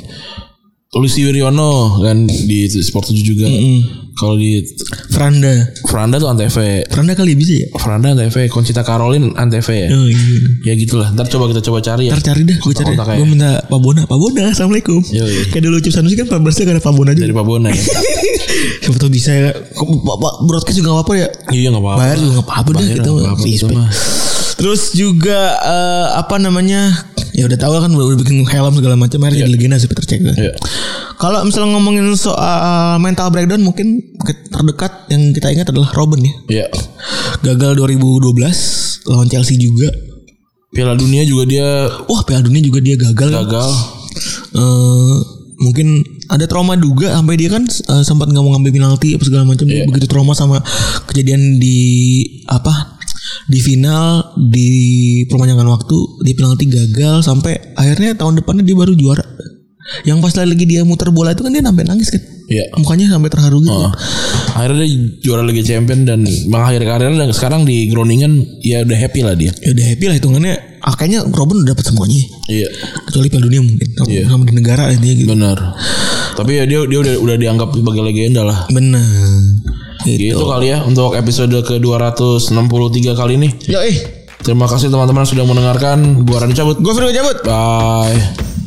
S2: Lucy Wiryono kan di itu, Sport 7 juga. Kalau di
S3: Franda.
S2: Franda tuh Antv.
S3: Franda kali bisa ya?
S2: Franda Antv, Concita Caroline Antv ya.
S3: Oh
S2: Ya
S3: iya.
S2: gitulah. Ntar coba kita coba cari ya.
S3: Ntar cari dah, gue cari.
S2: Kontak-kontak
S3: Gue
S2: aja.
S3: minta Pak Bona, Pak Bona, assalamualaikum.
S2: Yoi.
S3: Kayak dulu Cip Sanusi kan Pak Bona ada Pak Bona
S2: dari
S3: juga.
S2: Papua ya.
S3: Siapa tau bisa ya. Kok Pak Pak broadcast juga gak apa ya.
S2: Iya nggak apa-apa.
S3: Bayar juga gak apa-apa dah
S2: Bayar
S3: kita.
S2: nggak apa-apa,
S3: respect.
S2: itu mah.
S3: Terus juga eh, apa namanya? Ya udah tahu kan udah, udah bikin helm segala macam akhirnya jadi legenda sih Peter Cech. kan.
S2: Iya.
S3: Kalau misalnya ngomongin soal mental breakdown mungkin ke- terdekat yang kita ingat adalah Robin ya.
S2: Iya.
S3: Gagal 2012 lawan Chelsea juga.
S2: Piala Dunia juga dia
S3: Wah Piala Dunia juga dia gagal. kan.
S2: gagal.
S3: eh mungkin ada trauma juga sampai dia kan eh, sempat nggak mau ngambil penalti apa segala macam Dia begitu trauma sama kejadian di apa di final di perpanjangan waktu di penalti gagal sampai akhirnya tahun depannya dia baru juara yang pas lagi dia muter bola itu kan dia sampai nangis kan
S2: Iya.
S3: mukanya sampai terharu gitu
S2: Akhirnya dia juara Liga Champion dan mengakhiri karirnya dan sekarang di Groningen ya udah happy lah dia.
S3: ya udah happy lah hitungannya ah, kayaknya Robin udah dapat semuanya
S2: Iya.
S3: kecuali Piala Dunia mungkin sama, sama di negara intinya gitu
S2: Benar. Tapi ya dia dia udah udah dianggap sebagai legenda lah.
S3: bener gitu.
S2: Gitu kali ya untuk episode ke-263 kali ini.
S3: yo eh
S2: Terima kasih teman-teman sudah mendengarkan. Buaran cabut.
S3: gue Firgo cabut
S2: Bye.